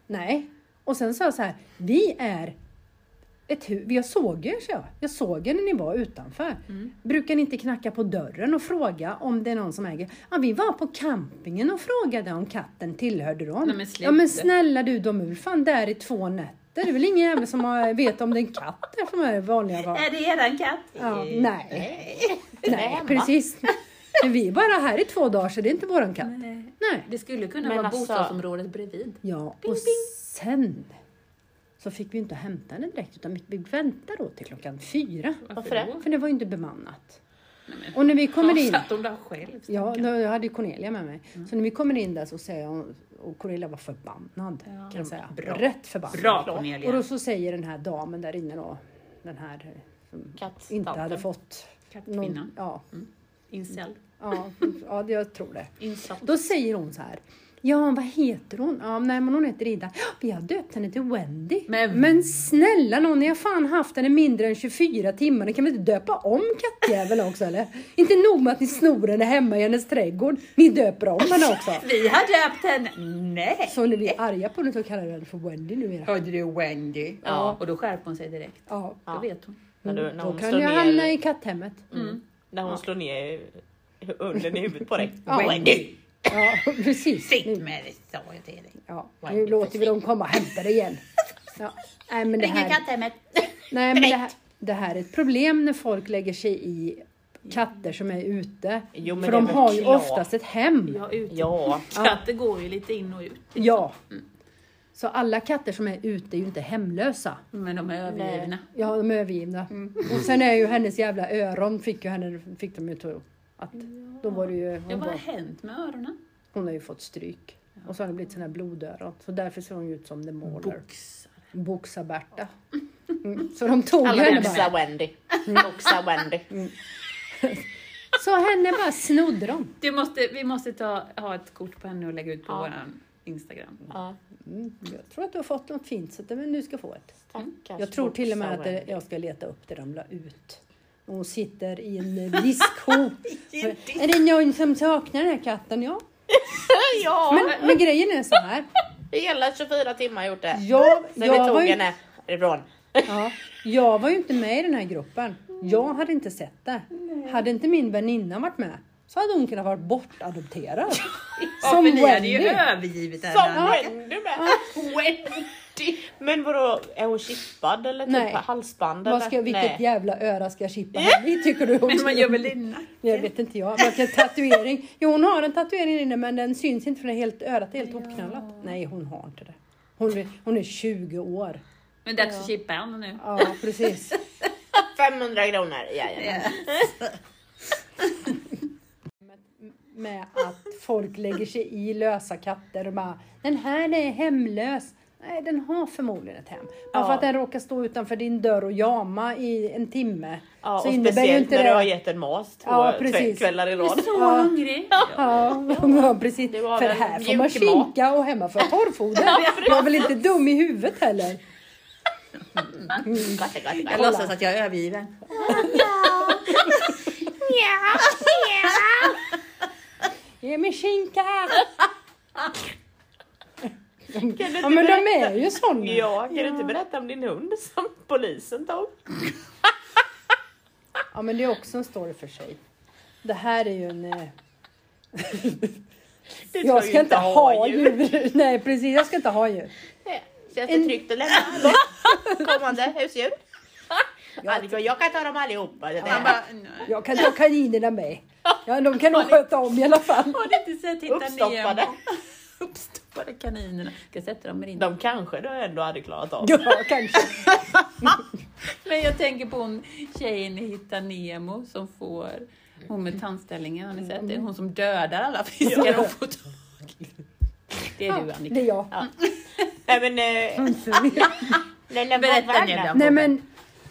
C: Nej. Och sen sa jag så här, vi är ett hus, jag såg er, sa jag. Jag såg er när ni var utanför.
A: Mm.
C: Brukar ni inte knacka på dörren och fråga om det är någon som äger? Ja, vi var på campingen och frågade om katten tillhörde dem.
A: Nej, men sluta.
C: ja, men snälla du, de är väl fan där i två nätter. Det är väl ingen jävel som har, vet om det är en katt där som är vanliga var.
A: Är det eran katt?
C: Ja, nej, nej, precis. Men vi är bara här i två dagar så det är inte våran katt.
A: Nej.
C: Nej.
A: Det skulle kunna
B: Men
A: vara
B: alltså-
A: bostadsområdet bredvid.
C: Ja, och sen så fick vi inte hämta henne direkt utan vi fick vänta då till klockan fyra.
B: Varför det?
C: För det var ju inte bemannat. Och när vi kommer in...
A: Satt hon där själv?
C: Ja, då, jag hade ju Cornelia med mig.
A: Mm.
C: Så när vi kommer in där så säger hon, och Cornelia var förbannad kan jag säga.
A: Bra.
C: Rätt förbannad.
A: Bra
C: Och då
A: Cornelia!
C: så säger den här damen där inne då, den här eh, som
B: Kattstanten.
C: inte hade fått
A: Kattkvinnan.
C: Ja,
A: Incel.
C: ja, ja, det- jag tror det.
A: Insult.
C: Då säger hon så här. Ja, vad heter hon? Ja, nej, men hon heter Ida. "Ja, Vi har döpt henne till Wendy.
A: Men-
C: snälla någon, ni har fan haft henne mindre än 24 timmar. Ni kan väl inte döpa om kattjäveln också eller? Inte nog med att ni snor henne hemma i hennes trädgård. Ni döper om henne också.
A: Vi har döpt henne! Nej!
C: Så när vi är arga på henne så kallar vi henne för Wendy numera.
A: Hörde du Wendy?
B: Ja.
A: Och då skärper hon sig direkt.
C: Ja,
A: Då vet hon.
B: När du, när
C: då
B: hon
C: kan
B: slår
C: jag hamna
B: ner, Mm.
C: i katthemmet.
B: när hon slår ner hunden i huvudet på dig.
C: Ja.
A: Wendy!
C: Ja, precis.
A: Sitt med dig, sa jag till dig.
C: Ja,
A: Wendy,
C: nu låter vi dem komma och hämta det igen. Ja, nej, men det här...
A: katthemmet!
C: Nej, men det här, det här är ett problem när folk lägger sig i katter som är ute.
B: Jo, men
C: För
B: det är
C: de
B: väl
C: har ju
B: klart.
C: oftast ett hem.
A: Ja, ut.
B: Ja,
A: Katter går ju lite in och ut.
C: Ja.
B: Mm.
C: Så alla katter som är ute är ju inte hemlösa. Mm.
A: Men de är övergivna.
C: Ja, de är övergivna. Och sen är ju hennes jävla öron fick ju henne, fick de ju tro. Att då var det ju,
A: Ja,
C: hon,
A: vad har
C: var,
A: hänt med öronen?
C: hon har ju fått stryk. Och så har det blivit sådana här blodöron. Så därför ser hon ju ut som The Mauler.
A: Boxar.
C: Boxa-Berta. Mm. Så de tog
B: alla
C: henne bara. Mm.
B: boxar Wendy. Boxar Wendy.
C: Så henne bara snodde de.
A: Du måste, vi måste ta, ha ett kort på henne och lägga ut på
B: Ja.
A: våran Instagram.
B: Ja,
C: Mm, jag tror att du har fått något fint så att men nu ska få ett.
B: stackars
C: Jag tror till och med
B: boxar
C: att det,
B: Wendy.
C: jag ska leta upp det ramla ut. Och hon sitter i en eh, diskho. är det någon som saknar den här katten? Ja.
B: Ja,
C: Men, men grejen är så här.
B: hela 24 timmar gjort det. Sen
C: Jag,
B: vi
C: jag,
B: tog
C: var ju,
B: henne ifrån.
C: ja, jag var ju inte med i den här gruppen. Jag hade inte sett det. Hade inte min väninna varit med så hade hon kunnat vara bortadopterad.
A: Ja, för ni hade ju övergivit
B: Som
A: henne.
B: Wendy med. Wendy. Men vadå, är hon chippad eller typ
C: Nej.
B: halsband?
C: Vad
B: eller?
C: ska, vilket
B: Nej.
C: jävla öra ska jag chippa henne i, tycker du?
A: Men man gör väl det
C: Jag vet inte jag. Man kan tatuering. Jo, hon har en tatuering inne men den syns inte för den är helt, örat är helt hopknallat. Nej, hon har inte det. Hon är, hon är 20 år.
A: Men dags att chippa henne nu.
C: Ja, precis.
B: 500 kronor, jajamän.
C: Med att folk lägger sig i lösa katter och bara Den här är hemlös. Nej, den har förmodligen ett hem. Bara för
B: Ja.
C: att den råkar stå utanför din dör och jama i en timme.
B: Ja,
C: så
B: och
C: innebär ju
B: speciellt
C: inte
B: när
C: det.
B: du har gett en mas två
C: Ja,
B: två
C: precis.
B: kvällar i rad.
A: Så
C: Ja.
A: hungrig!
C: Ja, ja precis.
B: Det var
C: För
B: väl
C: här får man
B: mjuk mat.
C: kinka och hemma får jag torrfoder. Jag är väl inte dum i huvudet heller.
B: Gott, gott, gott.
A: Jag låtsas att jag är övergiven.
C: Ge mig skinka! ja men de är ju såna.
B: Ja, kan du inte berätta om din hund som polisen tog?
C: Ja men det är också en story för sig. Det här är ju en... eh,
B: Du
C: Jag
B: ju
C: ska inte ha djur. Nej precis, jag ska inte ha djur.
B: Nej. Känns
C: En-
B: det tryggt att lämna bort kommande husdjur? Annika, jag kan ta dem allihopa. Det
A: Han
B: där.
A: bara, nej.
C: Jag kan ta kaninerna med. Ja, de kan nog sköta om i alla fall.
A: Har ni inte sett Hitta
B: Uppstoppade.
A: Nemo? Uppstoppade kaninerna. Ska jag sätta dem med din?
B: De kanske du ändå hade klarat av.
C: Ja, kanske.
A: Men jag tänker på hon tjejen i Hitta Nemo som får, hon med tandställningen, har ni sett det? Hon som dödar alla fiskar hon får tag i. Det är du
C: Det
A: Annika.
C: är jag.
B: Nej men... Eh, nej, nej,
A: Berätta
B: vad-
A: nu då.
C: Nej men,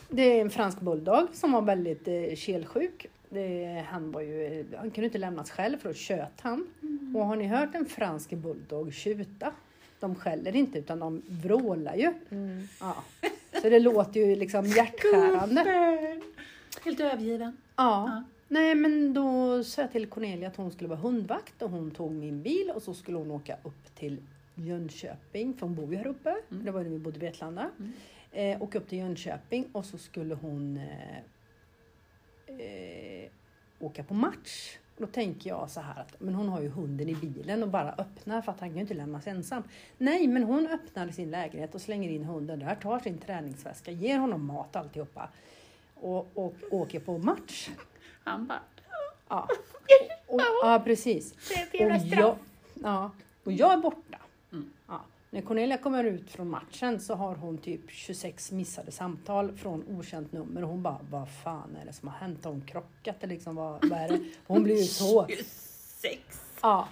C: det är en fransk bulldog som var väldigt eh, kelsjuk. Det, han, var ju, eh, han kunde inte lämnas själv för då tjöt han. Och har ni hört en fransk bulldog tjuta? De skäller inte utan de vrålar ju. Ja. Så det låter ju liksom hjärtskärande.
A: Helt övergiven.
C: Ja. Nej men då sa jag till Cornelia att hon skulle vara hundvakt och hon tog min bil och så skulle hon åka upp till Jönköping, för hon bor ju här uppe. Det var ju när vi bodde i Vetlanda. Eh, åka upp till Jönköping och så skulle hon eh, eh, åka på match. Då tänker jag så här att men hon har ju hunden i bilen och bara öppnar för att han kan ju inte lämnas ensam. Nej, men hon öppnar sin lägenhet och slänger in hunden där, tar sin träningsväska, ger honom mat alltihopa och, och åker på match.
A: Han bara,
C: Ja, och, ja precis. Och jag, ja, och jag är borta.
A: Mm.
C: Ja. När Cornelia kommer ut från matchen så har hon typ 26 missade samtal från okänt nummer och hon bara, vad fan är det som har hänt? Har hon krockat eller liksom, vad, vad är det? Hon blir ju så...
A: 26!
C: Ja.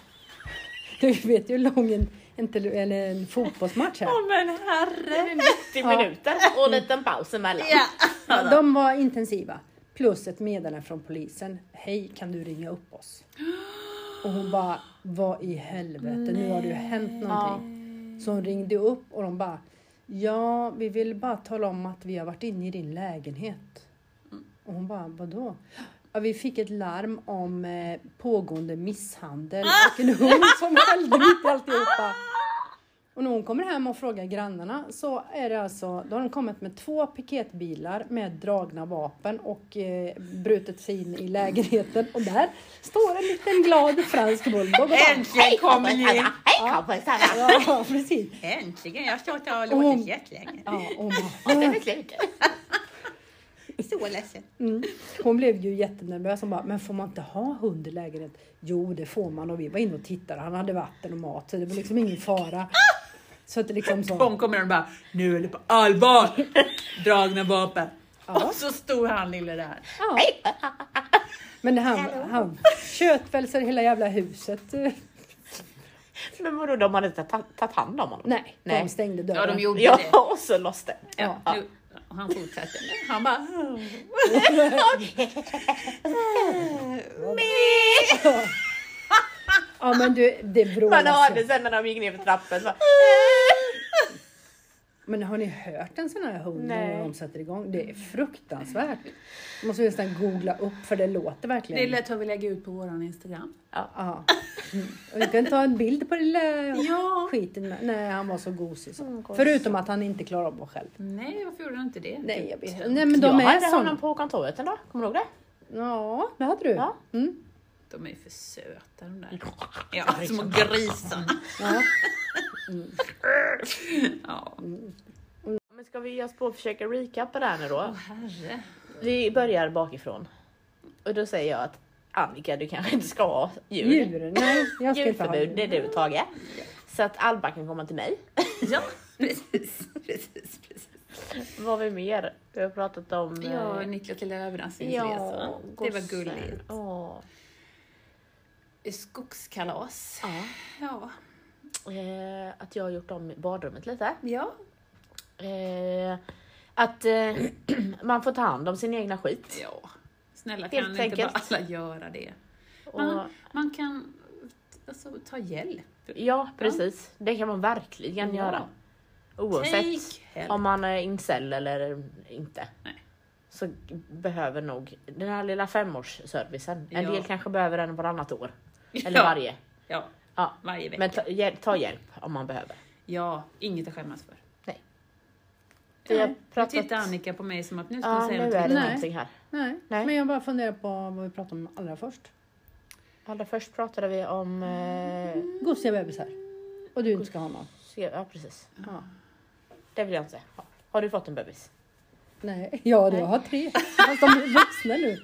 C: Du vet ju hur lång en, en, tele- eller en fotbollsmatch är.
A: Åh men herre!
B: 90 minuter och en liten paus emellan.
A: Ja.
C: Ja, De var intensiva. Plus ett meddelande från polisen. Hej, kan du ringa upp oss? Och hon bara, vad i helvete, nu har det ju hänt någonting. Så hon ringde upp och de bara, ja, vi vill bara tala om att vi har varit inne i din lägenhet. Och hon bara, vadå? Ja, vi fick ett larm om eh, pågående misshandel och en hund som skällde mitt i alltihopa. Och när hon kommer hem och frågar grannarna så är det alltså, då har de kommit med två piketbilar med dragna vapen och eh, brutit sig in i lägenheten och där står en liten glad fransk bulldog och bara,
A: Äntligen kom ni!
B: Hej kompisarna!
C: ja, precis.
A: Äntligen! Jag har stått här och
C: Hon-
A: låtit jättelänge.
C: Ja, och hon,
B: Ja, det
C: bara,
B: är slut.
A: Så ledsen.
C: mm. hon blev ju jättenervös. Hon bara, men får man inte ha hund i lägenhet? Jo, det får man och vi var inne och tittade. Han hade vatten och mat så det var liksom ingen fara. Så att det liksom så.
A: Hon kommer och bara, nu är det på allvar! Dragna vapen.
C: Ja.
A: Och så stod han lille där.
C: Ja. Men han, han tjöt väl så hela jävla huset. eh,
B: Men vadå, de hade inte ta- tagit hand om honom?
C: Nej, de
B: Nej.
C: stängde
A: Ja,
C: dörren.
A: de gjorde det.
B: Ja, och så loss det.
A: Ja, nu, och han fortsatte. Han bara... "Mm,
C: Ja, alltså. men du, det
B: Man
C: vrålas.
B: hörde
C: ju.
B: sen när de gick ner för trappen. Så,
C: Men har ni hört en sån här hund
B: Nej.
C: när de sätter igång? Det är fruktansvärt. Måste vi nästan googla upp för det låter verkligen.
A: Det lät har vi lägger ut på våran Instagram.
C: Ja. Mm. Och vi kan ta en bild på det lilla
A: Ja.
C: skiten. Med. Nej, han var så Mm, gosig. Så. Förutom att han inte klarar av det själv.
A: Nej, varför gjorde han inte det? Typ.
C: Nej, jag vet. Nej, men de
B: jag
C: är
B: hade honom
C: såna.
B: på kontoret en dag, kommer du ihåg det?
C: Ja, det hade du.
B: Ja.
C: Mm.
A: De är ju för söta de där. Ja, små grisarna.
C: ja.
A: Ja,
B: Men ska vi ge oss på och försöka recappa det här nu då?
A: Åh, herre.
B: Vi börjar bakifrån. Och då säger jag att Annika, du kanske inte ska ha djur.
C: Djur? Nej, jag ska inte ha
B: Djurförbud, det är
C: djur.
B: du Tage. Så att Alba kan komma till mig.
A: Ja, precis. precis, precis.
B: Vad har vi mer? Vi har pratat om...
A: Ja,
B: eh,
A: Niklas lilla överraskningsresa. det var
B: gossen.
A: gulligt.
B: Åh.
A: Skogskalas.
B: Ja.
A: Ja.
B: Eh, att jag har gjort om badrummet lite.
A: ja.
B: Eh, att eh, man får ta hand om sin egna skit.
A: Ja. Snälla
B: Helt
A: kan inte
B: enkelt.
A: bara alla göra det?
B: Och,
A: Man, man kan alltså, ta hjälp.
B: Ja, precis. Det kan man verkligen
A: Ja.
B: göra. Oavsett
A: Take help.
B: om man är incel eller inte.
A: Nej.
B: Så behöver nog den här lilla femårsservicen. En
A: Ja.
B: del kanske behöver den varannat år. Eller
A: Ja.
B: varje.
A: Ja,
B: Ja.
A: varje vecka.
B: Men ta, hjäl- ta hjälp om man behöver.
A: Ja, inget att skämmas för.
B: Nej. Vi har
A: Ja, nu
B: pratat-
A: tittar Annika på mig som att nu ska
B: Ja,
A: hon
B: nu
A: säga
B: är det
A: någonting.
C: Nej.
B: någonting här.
C: Nej.
B: Nej.
C: men jag bara funderar på vad vi pratade om allra först.
B: Allra först pratade vi om... Eh,
C: Gosiga bebisar. Och du inte ska ha någon.
B: se- ja, precis.
C: Ja.
B: Det vill jag inte ha. Har du fått en bebis?
C: Nej, ja du har tre. Fast de är vuxna nu.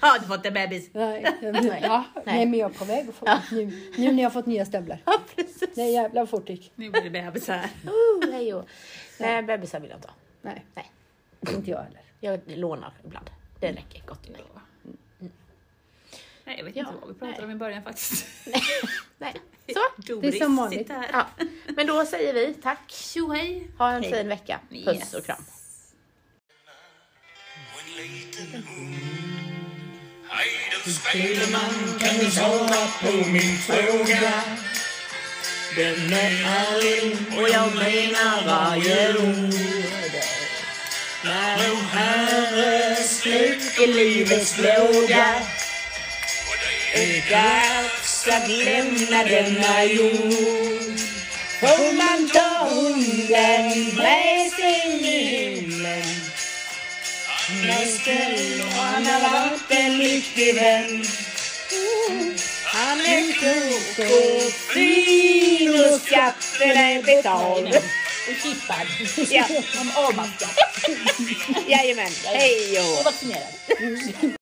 A: Har du fått en bebis?
C: Nej, nej. Ja, nej. men jag är på väg att få nu. Nu när jag har fått nya stövlar.
B: Ja, precis.
C: Nej jävlar vad fort det gick.
A: Nu blir det bebisar.
B: Oh, hej och. Nej, bebisar vill jag inte ha.
C: Nej.
B: Nej.
C: Inte jag heller.
B: Jag lånar ibland. Det räcker gott och väl.
A: Nej, jag vet
B: Ja,
A: inte vad vi pratade
B: nej.
A: om i början faktiskt.
B: Nej, så.
A: Doris
C: som vanligt.
A: sitter här.
B: Ja. Men då säger vi tack.
A: Tjohej!
B: Ha en
A: Hej.
B: fin vecka. Puss
A: Yes.
B: och kram.
F: Hur Spelman kan du svara på min fråga? Den är ärlig och jag menar varje ord. När o Herre släcker livets låga är dags att lämna denna jord.
B: Får man ta hunden med sig i himlen? Han är snäll och han har varit en lycklig vän. Han är klok och fin och skatten är betald.
A: Och chippad.
B: Ja,
A: Om avmaskad.
B: jajamän, hej och hå.
A: Och vaccinerad.